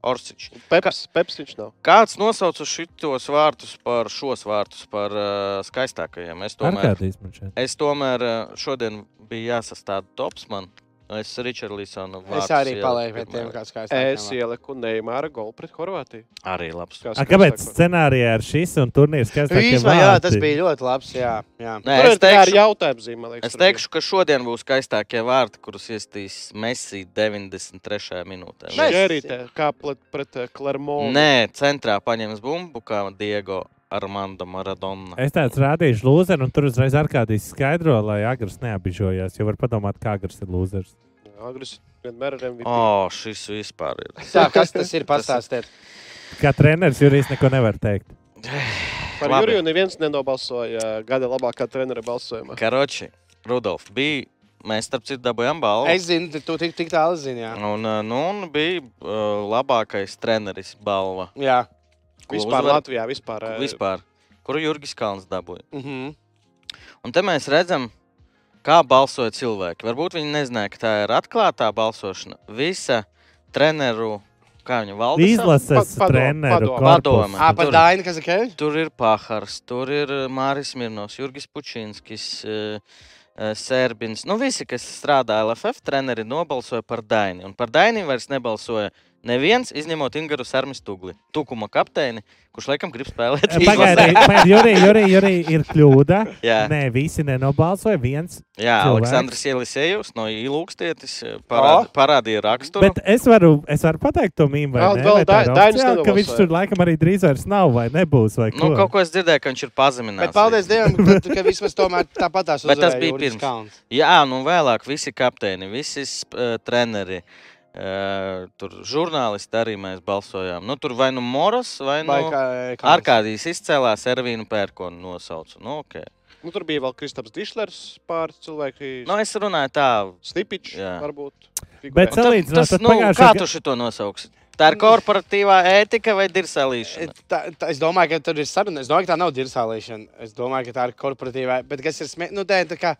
[SPEAKER 1] Orsičs.
[SPEAKER 2] Peps, Peps viņš nav.
[SPEAKER 1] Kāds nosauc uz šitos vārtus par šos vārtus, par uh, skaistākajiem? Es tomēr,
[SPEAKER 4] Ārkārtīgi man šeit.
[SPEAKER 1] es tomēr uh, šodien bija jāsastāda tops man. Es Ričardu Līsonu
[SPEAKER 3] Es arī palieku pie tiem, kas kā
[SPEAKER 2] Es ieliku Neimāra golu pret Horvātiju.
[SPEAKER 1] Arī labs.
[SPEAKER 2] Kā
[SPEAKER 4] A, Kāpēc
[SPEAKER 2] skaistāko.
[SPEAKER 4] scenārijā ir šis un turnīrs? Kas tā kā
[SPEAKER 3] Īsmā, jā,
[SPEAKER 4] vārti?
[SPEAKER 3] tas bija ļoti labs. Jā, jā.
[SPEAKER 1] Nē,
[SPEAKER 2] Tur
[SPEAKER 1] es
[SPEAKER 2] ir tā ar
[SPEAKER 1] teikšu,
[SPEAKER 2] jautājumu zīmē, man liekas.
[SPEAKER 1] es teikšu, ka šodien būs skaistākie vārti, kurus iestīs Messi 93. minūtē.
[SPEAKER 3] Mēs-
[SPEAKER 2] Šerīte, kā pret, pret eh, Clermont.
[SPEAKER 1] Nē, centrā paņems bumbu, kā Diego Armando Maradona.
[SPEAKER 4] Es tāds rādīšu lūzeru, un tur uzreiz ārkārtīgi skaidro, lai agresors neapbižojās. Jo var padomāt, kā agresors ir lūzers.
[SPEAKER 2] Agris vienmēr ir MVP.
[SPEAKER 1] O, oh, šis vispār ir.
[SPEAKER 3] Tā, kas tas ir? Pastāstiet.
[SPEAKER 4] Kā treneris Jurijs neko nevar teikt.
[SPEAKER 2] Par
[SPEAKER 1] Labi.
[SPEAKER 2] Juriju neviens nenobalsoja gada labākā trenera balsojumā.
[SPEAKER 1] Karoči, Rudolf, bija. Mēs, starp citu, dabūjām balvu.
[SPEAKER 3] Es zinu, tu- tu tik, tik tālu zini. Jā.
[SPEAKER 1] Un, eh, nu, un bija uh, labākais treneris balva.
[SPEAKER 3] jā.
[SPEAKER 1] Ko
[SPEAKER 2] Vispār
[SPEAKER 1] uzvar-
[SPEAKER 2] Latvijā, vispār. eh,
[SPEAKER 1] Vispār, kuru Jurgis Kalns dabūja.
[SPEAKER 3] Mhm.
[SPEAKER 1] Un te mēs redzam, kā balsoja cilvēki. Varbūt viņi nezināja, ka tā ir atklātā balsošana. Visa treneru, kā viņu valda.
[SPEAKER 4] Izlases
[SPEAKER 2] Pa- padom-
[SPEAKER 4] treneru
[SPEAKER 2] padom-
[SPEAKER 4] korpus.
[SPEAKER 1] padome.
[SPEAKER 3] Ā, pat
[SPEAKER 1] Tur.
[SPEAKER 3] Daina, kas ir Kevins?
[SPEAKER 1] Tur ir Pahars, tur ir eh, Māris Mirnovs, Jurgis Pučinskis. eh, eh, Sērbins, nu visi, kas strādā LFF, treneri nobalsoja par Daini. Un par Daini vairs nebalsoja neviens, izņemot Ingaru Sārmas Tugli, tukuma kapteini, kurš laikam grib spēlēt izlasē.
[SPEAKER 4] Eh, Pagaidiet, Jurija, Jurija, Jurija ir kļūda.
[SPEAKER 1] Jā.
[SPEAKER 4] Nē, visi nenobalsoja. Viens.
[SPEAKER 1] Jā,
[SPEAKER 4] cilvēks. Oh.
[SPEAKER 1] Aleksandrs Ielisējus no Ilūkstietis parād, parādīja raksturu.
[SPEAKER 4] Bet es varu, es varu pateikt to mīmu, vai
[SPEAKER 2] Vēl-
[SPEAKER 4] ne?
[SPEAKER 2] vēl
[SPEAKER 4] Vai tā ir
[SPEAKER 2] Dai- Dainis
[SPEAKER 4] oficiāli, ka
[SPEAKER 2] nebalsoja.
[SPEAKER 4] viņš tur laikam arī drīz vairs nav vai nebūs. Vai
[SPEAKER 1] Nu,
[SPEAKER 4] ko?
[SPEAKER 1] kaut ko es dzirdēju, ka viņš ir pazemināts.
[SPEAKER 3] Bet paldies Dievam, ka, ka vismaz tomēr tāpat tās
[SPEAKER 1] Bet tas
[SPEAKER 3] uzvarēja
[SPEAKER 1] bija
[SPEAKER 3] Juris
[SPEAKER 1] pirms.
[SPEAKER 3] Kalns.
[SPEAKER 1] Jā, nu vēlāk visi kapteini, visi uh, treneri, uh, tur žurnālisti arī mēs balsojām. Nu, tur vai nu Moras, vai nu
[SPEAKER 3] Vai kā- Kalns.
[SPEAKER 1] Arkādijas izcēlās Ervīnu Pērkonu nosaucu. Nu, okay.
[SPEAKER 2] Nu, tur bija vēl Kristaps Dišlers, pāris cilvēki.
[SPEAKER 1] nu, es runāju tā.
[SPEAKER 2] Snipičs
[SPEAKER 1] Jā.
[SPEAKER 2] varbūt. figurē.
[SPEAKER 4] Bet
[SPEAKER 1] Tad-
[SPEAKER 4] salīdzinot,
[SPEAKER 1] tas,
[SPEAKER 4] tad
[SPEAKER 1] nu,
[SPEAKER 4] pagājušā
[SPEAKER 1] kā
[SPEAKER 4] ga-
[SPEAKER 1] tu šito nosauksi? Tā ir korporatīvā ētika vai dirsalīšana?
[SPEAKER 3] Tā, tā, es domāju, ka tur ir saruna. Es domāju, ka tā nav dirzālīšana. Es domāju, ka tā ir korporatīvā. Bet kas ir smieklīgi? Nu, tā, tā kā,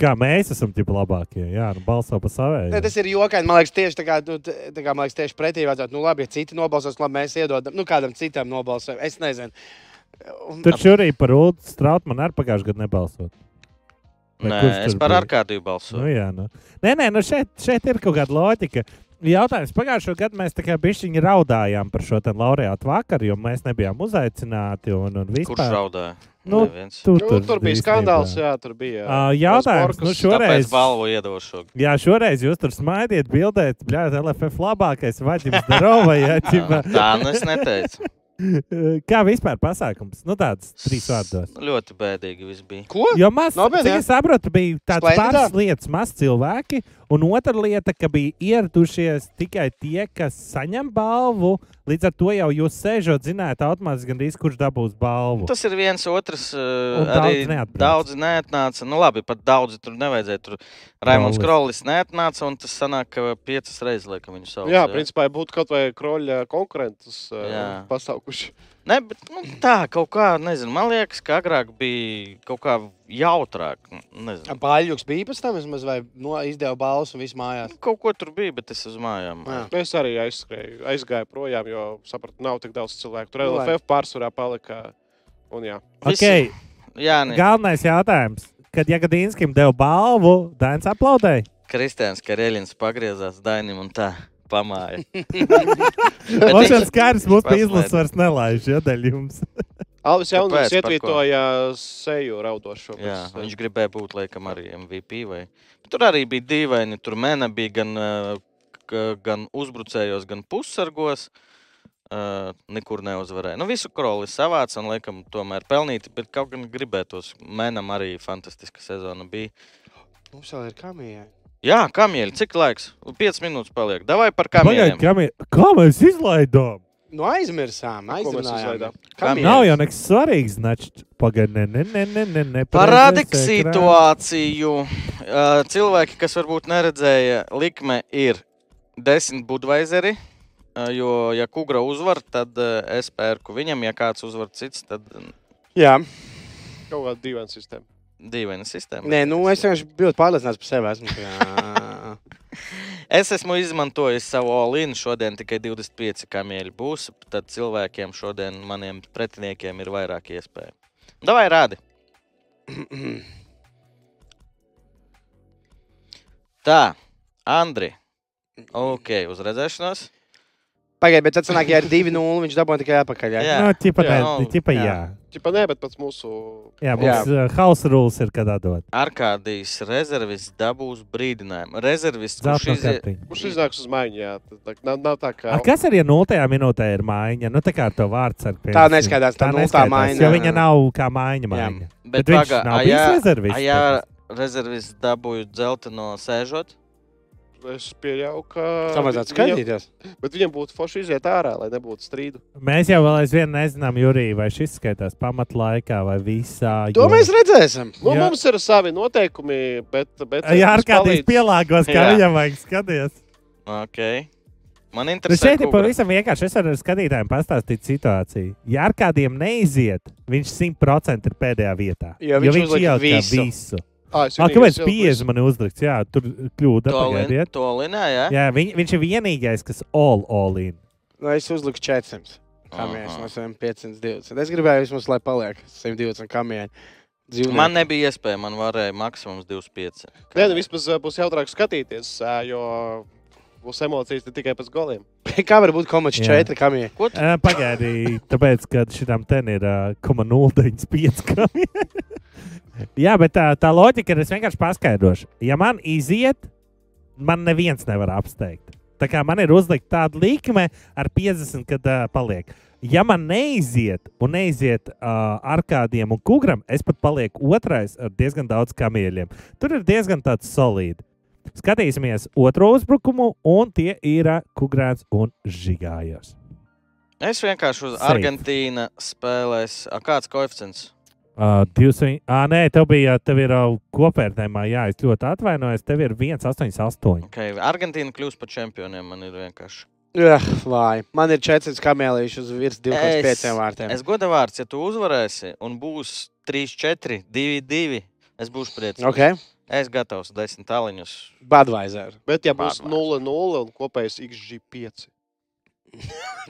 [SPEAKER 4] Kā mēs esam tie labākie. Jā, nu, balso par
[SPEAKER 3] ne,
[SPEAKER 4] savējiem.
[SPEAKER 3] tas ir jokaini. Man liekas, tieši, tā kā, nu, t- tā kā, man liekas, tieši pretī vajadzētu. Nu, labi, ja citi nobalsos, labi, mēs iedodam. Nu, kādam citam nobalsojam. Es nezinu. Un,
[SPEAKER 4] Tur Jurija par Ulu Strautmanu arī pagājušajā gadā nebalsoja. vai
[SPEAKER 1] Nē,
[SPEAKER 4] kurš
[SPEAKER 1] es
[SPEAKER 4] tur
[SPEAKER 1] par
[SPEAKER 4] bija?
[SPEAKER 1] Arkādiju
[SPEAKER 4] Nu,
[SPEAKER 1] balsoju.
[SPEAKER 4] jā, nu. Nē, nē, nu šeit, šeit ir kaut kāda loģika. Jautājums pagājušajā gadā mēs tā kā bišķiņi raudājām par šo te laureātu vakaru, jo mēs nebijām uzaicināti. Un, un
[SPEAKER 1] Kurš
[SPEAKER 4] vispār,
[SPEAKER 1] raudāja?
[SPEAKER 4] Nu,
[SPEAKER 1] Neviens.
[SPEAKER 4] tu,
[SPEAKER 2] Nu, tur bija
[SPEAKER 4] īstenībā.
[SPEAKER 2] skandāls, jā, tur bija.
[SPEAKER 4] Ā, jautājums, nu, šo-
[SPEAKER 1] Tāpēc
[SPEAKER 4] Toreiz-
[SPEAKER 1] balvu iedošu.
[SPEAKER 4] Jā, šoreiz jūs tur smaidiet, bildēt, bļāt, LFF labākais vaģims darova, jā, ķipa.
[SPEAKER 1] Tā nu es neteicu.
[SPEAKER 4] Kā vispār pasākums? Nu, tāds trīs vārdos.
[SPEAKER 1] Ļoti bēdīgi viss bija.
[SPEAKER 3] Ko?
[SPEAKER 4] Jo maz,
[SPEAKER 3] Nopietni,
[SPEAKER 4] cik
[SPEAKER 3] jā?
[SPEAKER 4] es saprotu, bija tādas
[SPEAKER 3] Splendidā?
[SPEAKER 4] pāris lietas, maz cilvēki, un otra lieta, ka bija ieradušies tikai tie, kas saņem balvu. Līdz ar to jau jūs sēžot, zināt, automātiski gandrīz kurš dabūs balvu.
[SPEAKER 1] Tas ir viens otrs. Uh,
[SPEAKER 4] Un daudz
[SPEAKER 1] arī
[SPEAKER 4] neatbrauc.
[SPEAKER 1] daudz neatnāca. Nu, labi, pat daudzi tur nevajadzēja. Tur Raimons
[SPEAKER 4] Krollis.
[SPEAKER 1] Krolis neatnāca, un tas sanāk, ka piecas reizes liekam viņu sauc.
[SPEAKER 2] Jā, principā ja būtu kaut vai kroļa konkurentus
[SPEAKER 1] Jā.
[SPEAKER 2] pasaukuši.
[SPEAKER 1] Ne, bet, nu, tā kaut kā, nezinu, man liekas, ka agrāk bija kaut kā jautrāk. Nezinu.
[SPEAKER 3] Pāļģis bija pēc tam vismaz, vai no, izdeva balsu un viss mājās.
[SPEAKER 1] Kaut ko tur bija, bet es uz mājām.
[SPEAKER 3] Jā.
[SPEAKER 2] Nu, Es arī aizskrēju, aizgāju projām, jo sapratu, nav tik daudz cilvēku. Tur
[SPEAKER 3] Nu, lai.
[SPEAKER 2] LFF pārsvarā palika. Un jā,
[SPEAKER 1] Visi-
[SPEAKER 4] Okay,
[SPEAKER 1] Jā, nē,
[SPEAKER 4] galvenais jautājums. Kad Jagadīnskam deva balvu, Dainis aplaudēja.
[SPEAKER 1] Kristians Kareļins pagriezās Dainim un tā pamāja.
[SPEAKER 4] Ošāns Kārs mums pie
[SPEAKER 1] Paslēdz.
[SPEAKER 4] izlases vairs nelaiž, ja dēļ jums.
[SPEAKER 2] Alvis Jaunums
[SPEAKER 1] Kāpēc? Par ko?
[SPEAKER 2] ietvītoja seju raudošo.
[SPEAKER 1] Jā,
[SPEAKER 2] pēc, eh,
[SPEAKER 1] viņš gribēja būt laikam, arī MVP. Vai... Bet Tur arī bija dīvaini. Tur mēnē bija gan, eh, k- gan uzbrucējos, gan pussargos. Uh, nekur neuzvarēja. Nu, visu krolis savāca un, laikam, tomēr pelnīti. Bet kaut gan gribētos, mēnam arī fantastiska sezona bija.
[SPEAKER 3] Mums vēl ir kamija.
[SPEAKER 1] Jā, kamieļi, cik laiks? 5 minūtes paliek. Davai par
[SPEAKER 4] Pagaidiet,
[SPEAKER 1] kamieļiem.
[SPEAKER 4] kā mēs izlaidām?
[SPEAKER 3] Nu, aizmirsām,
[SPEAKER 2] ko mēs
[SPEAKER 3] aizmirsām.
[SPEAKER 2] izlaidām?
[SPEAKER 1] Kam
[SPEAKER 4] Nav jau nekas svarīgs. Znači, pagaidi, ne, ne, ne, ne, ne.
[SPEAKER 1] Parādīk
[SPEAKER 4] pareizais ekrāns.
[SPEAKER 1] situāciju. Uh, Cilvēki, kas varbūt neredzēja, likme ir desmit budveizeri. uh, Jo, ja kungra uzvar, tad uh, es pērku viņam, ja kāds uzvar cits, tad mm,
[SPEAKER 3] Jā,
[SPEAKER 2] Kaut kāda dīvaina sistēma.
[SPEAKER 1] dīvaina sistēma.
[SPEAKER 3] Nē, nu, es vienkārši biju pārliecināts par sevi. Esmu, jā.
[SPEAKER 1] Es esmu izmantojis savu olīnu. Šodien tikai 25 kamieļi būs. Tad cilvēkiem šodien, maniem pretiniekiem, ir vairāk iespēju. Davai rādi! Tā, Andri. Ok, uz redzēšanos.
[SPEAKER 3] Pagaidiet, bet tad sanāk, ja ir 2-0, viņš dabūja tikai apakaļ. Jā,
[SPEAKER 1] Jā.
[SPEAKER 4] Nu, tipa, jā,
[SPEAKER 2] Jā,
[SPEAKER 1] nu,
[SPEAKER 4] tipa, jā.
[SPEAKER 3] jā.
[SPEAKER 4] jā.
[SPEAKER 2] Čipa nē, bet pats mūsu.
[SPEAKER 4] jā mums uh, house rules ir kad atdot.
[SPEAKER 1] Arkādijas rezervists dabūs brīdinājumu. Rezervists, kurš
[SPEAKER 4] Zelta
[SPEAKER 1] izie...
[SPEAKER 4] kartiņa.
[SPEAKER 2] Kurš iznāks uz maiņu? Jā, tad tā, nav, nav tā kā.
[SPEAKER 4] A, Kas arī ja 0. minūtē ir mājiņa? Nu, tā kā ar to vārds ar pēdas.
[SPEAKER 3] Tā neskaitās, tā nultā maiņa.
[SPEAKER 4] Jo viņa nav kā mājiņa.
[SPEAKER 3] Jā.
[SPEAKER 4] mājiņa.
[SPEAKER 1] Bet,
[SPEAKER 4] Bet viņš
[SPEAKER 1] pagā-
[SPEAKER 4] nav
[SPEAKER 1] a,
[SPEAKER 4] bijis
[SPEAKER 1] jā-
[SPEAKER 4] rezervists,
[SPEAKER 1] a, Jā,
[SPEAKER 4] tāpēc.
[SPEAKER 1] rezervists dabūja dzelteno sēžot.
[SPEAKER 2] Es pieļauju, ka.
[SPEAKER 3] tā vajadzētu skatīties.
[SPEAKER 2] Viņam, bet viņam būtu forši iziet ārā, lai nebūtu strīdu.
[SPEAKER 4] Mēs jau vēl aizvien nezinām, Jurija, vai šis skaitās pamatlaikā vai visā.
[SPEAKER 3] To
[SPEAKER 4] jo-
[SPEAKER 3] mēs redzēsim.
[SPEAKER 2] Nu,
[SPEAKER 4] Jā.
[SPEAKER 2] mums ir savi noteikumi, bet. bet
[SPEAKER 4] Jā, ar
[SPEAKER 2] mums
[SPEAKER 4] kādiem
[SPEAKER 2] palīdz.
[SPEAKER 4] pielāgos, kā
[SPEAKER 1] Jā.
[SPEAKER 4] viņam vajag skatīties.
[SPEAKER 1] Okay. Man
[SPEAKER 4] Nu,
[SPEAKER 1] interesē,
[SPEAKER 4] šeit ir pavisam vienkārši. Es varu ar skatītājiem pastāstīt situāciju. Ja ar kādiem neiziet, viņš 100% ir pēdējā vietā.
[SPEAKER 3] Jo viņš uzlika
[SPEAKER 4] ieliek
[SPEAKER 3] visu.
[SPEAKER 4] visu.
[SPEAKER 2] Ā, es
[SPEAKER 4] Ah,
[SPEAKER 2] vienīgais
[SPEAKER 4] kāpēc
[SPEAKER 2] ieliku
[SPEAKER 4] 50 man ir uzlikts? Jā, tur kļūda.
[SPEAKER 1] Tolin,
[SPEAKER 4] Pagaidiet.
[SPEAKER 1] tolinā, jā? jā.
[SPEAKER 4] Jā, viņ, viņš ir vienīgais, kas all, all in.
[SPEAKER 3] Nu, es uzliku 400. Kamieņš
[SPEAKER 1] Aha.
[SPEAKER 3] no saviem 520. Es gribēju, vismaz, lai paliek 120 kamieņi.
[SPEAKER 1] Man nebija iespēja, man varēja maksimums 25.
[SPEAKER 2] Nē, nu, vismaz ā, būs jautrāk skatīties, ā, jo būs emocijas ne tikai pēc goliem.
[SPEAKER 3] Kā var būt komats
[SPEAKER 4] Jā.
[SPEAKER 3] 4 kamieņi?
[SPEAKER 1] Ko tu?
[SPEAKER 4] Ā, Pagaidi, tāpēc, ka šitam ten ir ā, koma 0,95 gramu. Jā, bet tā, tā loģika ir, es vienkārši paskaidrošu. Ja man iziet, man neviens nevar apsteigt. Tā kā man ir uzlikta tāda likme ar 50, kad uh, paliek. Ja man neiziet, un neiziet uh, ar kādiem un kugram, es pat palieku otrais ar diezgan daudz kamieļiem. Tur ir diezgan tāds solīds. Skatīsimies otro uzbrukumu, un tie ir ā, Kugrāns un Žigājos.
[SPEAKER 1] Es vienkārši uz
[SPEAKER 4] Safe.
[SPEAKER 1] Argentīnu spēlēju. Kāds koeficients?
[SPEAKER 4] Uh, divs, viņ- Ā, nē, tev bija, tev ir uh, kopvērtējumā, jā, es ļoti atvainojos, tev ir 1,88.
[SPEAKER 1] Okay. Argentīna kļūst par čempioniem. Man ir vienkārši.
[SPEAKER 3] Jā, lai. Man ir 400 kamieļi uz virs 25 vārtiem.
[SPEAKER 1] es godu vārds, ja tu uzvarēsi un būs 3, 4, 2, 2. Es būšu priecīgs.
[SPEAKER 3] Ok,
[SPEAKER 1] Es gatavs desmit tāliņus.
[SPEAKER 3] Budweiser.
[SPEAKER 2] Bet, ja būs
[SPEAKER 1] Bārvars.
[SPEAKER 2] 0-0 un kopējais XG5,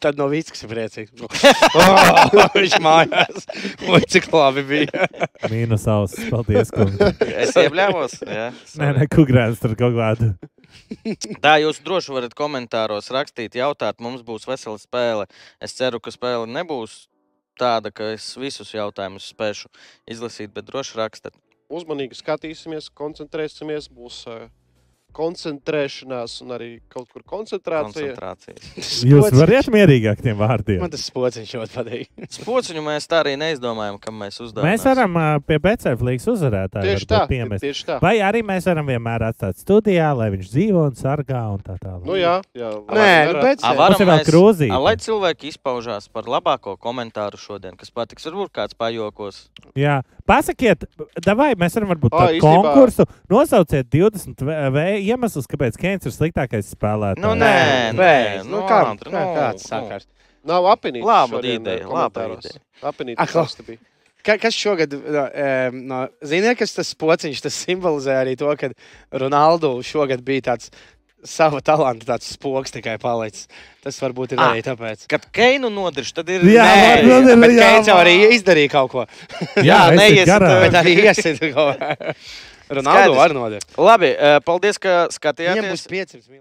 [SPEAKER 3] Tad no Vīskas ir priecīgs. oh, viņš mājās. Oi, cik labi bija.
[SPEAKER 4] Mīnus ausis, paldies. kungs.
[SPEAKER 1] Es iebļāvos. jā,
[SPEAKER 4] Nē,
[SPEAKER 1] sorry.
[SPEAKER 4] nē, kukurēns tur kaut kādu.
[SPEAKER 1] Tā jūs droši varat komentāros rakstīt, jautāt. Mums būs vesela spēle. Es ceru, ka spēle nebūs tāda, ka es visus jautājumus spēšu izlasīt, bet droši rakstīt.
[SPEAKER 2] uzmanīgi skatīsimies, koncentrēsimies, būs ā, koncentrēšanās un arī kaut kur koncentrācija.
[SPEAKER 1] Koncentrācijas.
[SPEAKER 4] Jūs varat mierīgāk tiem vārdiem.
[SPEAKER 3] Man tas pociņš ļoti patīk.
[SPEAKER 1] Spociņu mēs tā arī neizdomājam, kam mēs uzdevām.
[SPEAKER 4] Mēs varam uh, pie BCF līnijas uzvarētāju
[SPEAKER 2] Tieši tā,
[SPEAKER 4] varbūt piemest.
[SPEAKER 2] tieši tā.
[SPEAKER 4] Vai arī mēs varam vienmēr atstāt studijā, lai viņš dzīvo un sargā un tā tālāk.
[SPEAKER 2] Nu, jā, jā,
[SPEAKER 3] Nē, nu, bet
[SPEAKER 1] A,
[SPEAKER 4] Mums ir
[SPEAKER 1] varam
[SPEAKER 4] vēl
[SPEAKER 1] mēs,
[SPEAKER 4] krūzīte.
[SPEAKER 1] a, lai cilvēki izpaužās par labāko komentāru šodien, kas patiks. Varbūt kāds pajokos.
[SPEAKER 4] jā. Pasakiet, vai mēs varam varbūt
[SPEAKER 2] Ā,
[SPEAKER 4] tādu
[SPEAKER 2] īstenībā-
[SPEAKER 4] konkursu nosauciet 20 vē- vē- iemeslus, kāpēc Keins ir sliktākais spēlētājs.
[SPEAKER 1] Nu, nē, nē,
[SPEAKER 3] Pēc,
[SPEAKER 1] nu,
[SPEAKER 3] nu, kā,
[SPEAKER 1] Andri,
[SPEAKER 3] kā,
[SPEAKER 1] nu,
[SPEAKER 3] kāds
[SPEAKER 1] nu.
[SPEAKER 3] sakars.
[SPEAKER 2] Nav apinīts.
[SPEAKER 1] Laba ideja, laba ideja.
[SPEAKER 2] Apinīts.
[SPEAKER 3] Ak, la-
[SPEAKER 2] tas bija.
[SPEAKER 3] Ka, kas šogad, no, em, no, ziniet, kas tas pociņš, tas simbolizē arī to, ka Ronaldu šogad bija tāds sava talanta, tāds spoks tikai palicis. Tas varbūt ir
[SPEAKER 1] Ah.
[SPEAKER 3] arī tāpēc.
[SPEAKER 1] Kad Keinu nodirš, tad ir.
[SPEAKER 4] Jā,
[SPEAKER 1] Nē,
[SPEAKER 4] man- man-
[SPEAKER 3] bet
[SPEAKER 4] jā,
[SPEAKER 3] Keits jau
[SPEAKER 4] vā.
[SPEAKER 3] arī izdarīja kaut ko.
[SPEAKER 1] jā,
[SPEAKER 4] Jā,
[SPEAKER 1] neiesiet,
[SPEAKER 4] neies garām.
[SPEAKER 1] bet
[SPEAKER 3] Bet arī iesaistīja kaut ko. Ronaldu
[SPEAKER 1] Skaidrs.
[SPEAKER 3] var nodot.
[SPEAKER 1] Labi, eh, paldies, ka skatījāties.
[SPEAKER 3] Viņam būs 500 mil.